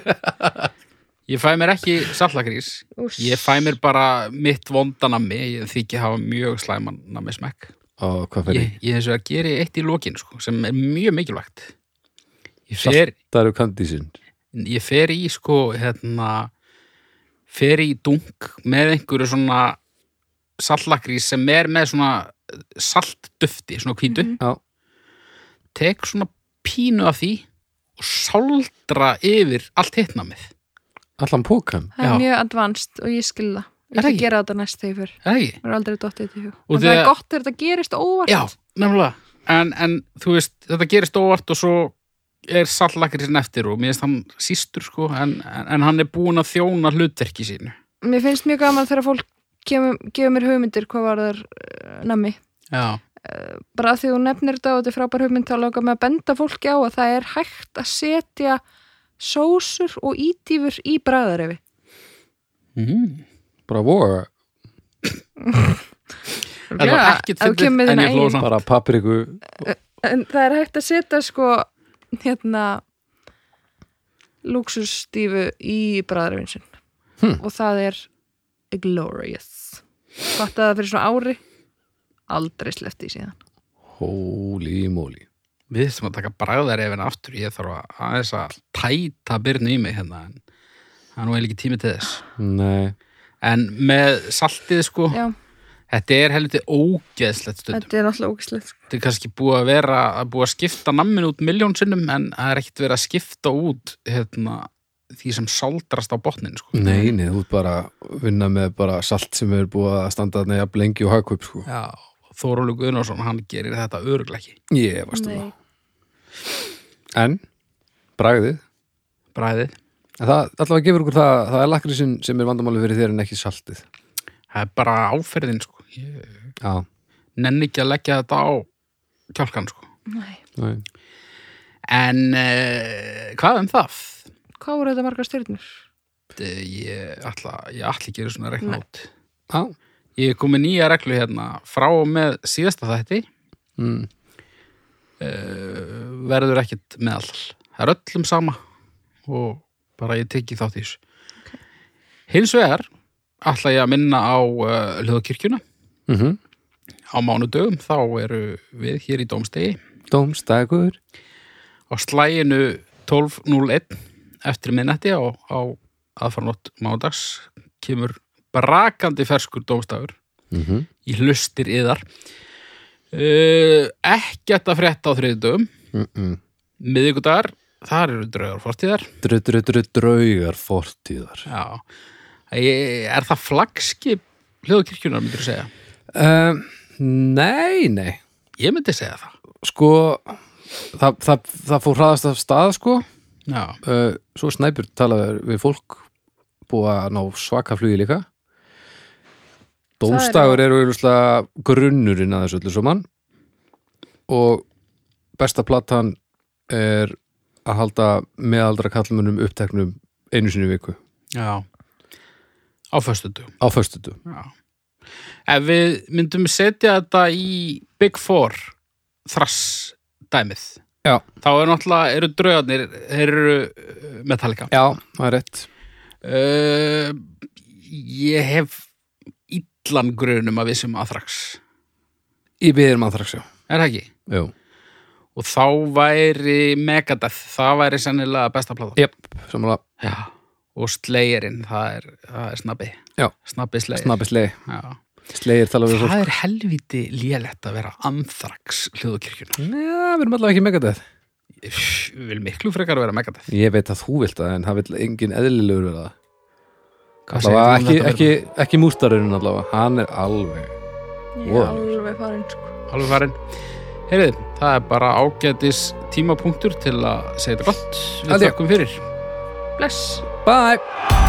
ég fæ mér ekki saltakrís Úss. ég fæ mér bara mitt vondanami ég þykja hafa mjög slæman nami smekk Ó, hvað fer í? ég, ég eins og að geri eitt í lokin sko, sem er mjög mikilvægt ég Salt- fer, Það eru kandísinn. ég fer í sko hérna fer í dunk með einhverju svona sallakrís sem er með svona saltdufti, svona hvítu Já. tek svona pínu af því og sáldra yfir allt hittna með Allan pókan? Það er Já. mjög advanced og ég skil það. Er Ég það ætla að ekki? gera þetta næst þegar ég fyrr. er það ekki? Mér er aldrei dottið þetta í hug. Og En það þegar- er gott þegar þetta gerist óvart. Já, nefnilega en, en þú veist, þetta gerist óvart og svo er sallakrísin eftir og mér finnst hann sístur sko en, en, en hann er búin að þjóna hlutverki sínu Mér finnst mjög gaman þegar fólk kemur, gefur mér hugmyndir hvað var þar nammi. Já, Bara af því þú nefnir þetta og þetta er frábær hugmynd þá langar með að benda fólki á að það er hægt að setja sósur og ídýfur í bræðarefi. mm. Bara voga, var ekkert fyndið, en ég hló samt. bara papriku En það er hægt að setja sko hérna lúksustífu í bræðarefin sinn. Hmm. Og það er glorious. Fattaði það fyrir svona ári? Aldrei slefti í síðan. Holy moly Við þessum að taka bræðar ef aftur ég þarf að aðeins að tæta byrnu í mig hérna en það er nú eiginlega ekki tími til þess Nei, en með saltið sko Já, þetta er helviti ógeðslegt stundum þetta er náttúrulega sko. ógislegt. þetta er kannski búið að vera að búið að skipta nammin út miljón sinnum en það er ekkert verið að skipta út hérna, því sem sáldrast á botnin sko. nei, nei, þú ert bara að vinna með bara salt sem er búið að standa þarna jafn lengi og haka upp sko Já, Þórólu Guðnarsson hann gerir þetta öruglega ekki Ég varst um það En, bragðið bræðið, En það allavega gefur okkur það, það er lakrísin sem er vandamáli fyrir þér en ekki saltið það er bara áferðin sko. ég Já, nenni ekki að leggja þetta á kjálkan sko. Nei. nei en eh, hvað um það? Hvað voru þetta margar stjörnur? Eh, Ég ætla, ég ætla ekki að gera svona reikna Nei. út Já, Ég er komið nýja reglu hérna frá og með síðasta þætti mm. uh, verður ekkert meðal það er öllum sama og bara ég tekki þátt í þessu hins vegar ætla ég að minna á uh, hljóðkirkjuna Mm -hmm. á mánudögum þá eru við hér í Dómstegi Dómstækur á slæginu 12.01 eftir minnetti á, á aðfarnótt mánudags kemur brakandi ferskur dómstafur mm í hlustir yðar uh, ekkert að frétta á þriðdögum mm -mm. miðvikudagar þar eru draugur fortíðar Dru- dru- dru- draugar fortíðar Já, Ég- er það flaggskip hljóðkirkjunar, myndir þú segja? um, Nei, nei Ég myndi segja það. sko það, það, það fór hraðast af stað sko Já, uh, svo snæpur talaður við fólk búið að ná svaka flugi líka er- Dómstagur eru auðvitað grunnurinn að þessu öllu saman og besta platan er að halda meðaldra kallmönnum uppteknum einu sinni í viku já. Á föstudu. á föstutu Já. Ef við myndum setja þetta í Big Four þrass dæmið, Já. þá er náttúrulega, eru draugarnir, þeir eru uh, Metallica. Já, það er rétt Uh, ég hef illan grunum að við sem aðrax. Í viðir mann þraks, já Er það ekki? Jú. Og þá væri Megadeth, það væri sennilega besta plata. Jep, samanlega Já, og slegirinn, það er, það er snabbi. Já. Snabbi slegir. snabbi slegir, Já. slegir tala við fólk Það er helviti lélegt að vera anþrax hljóðkirkjuna. Já, við erum allavega ekki megadæð Við viljum miklu frekar að vera megadeth. Ég veit að þú vilt það en það vil engin eðlilegur vera það. Hvað Allavega segir þú um ekki, þetta, ekki, ekki mústarurinn allavega, hann er alveg. Ég Wow. er alveg farin sko. Bergur? Hálfur farin. Heyrið, það er bara ágætis tímapunktur til að segja þetta gott. Við Held ég. þakkum fyrir. Bless Bye!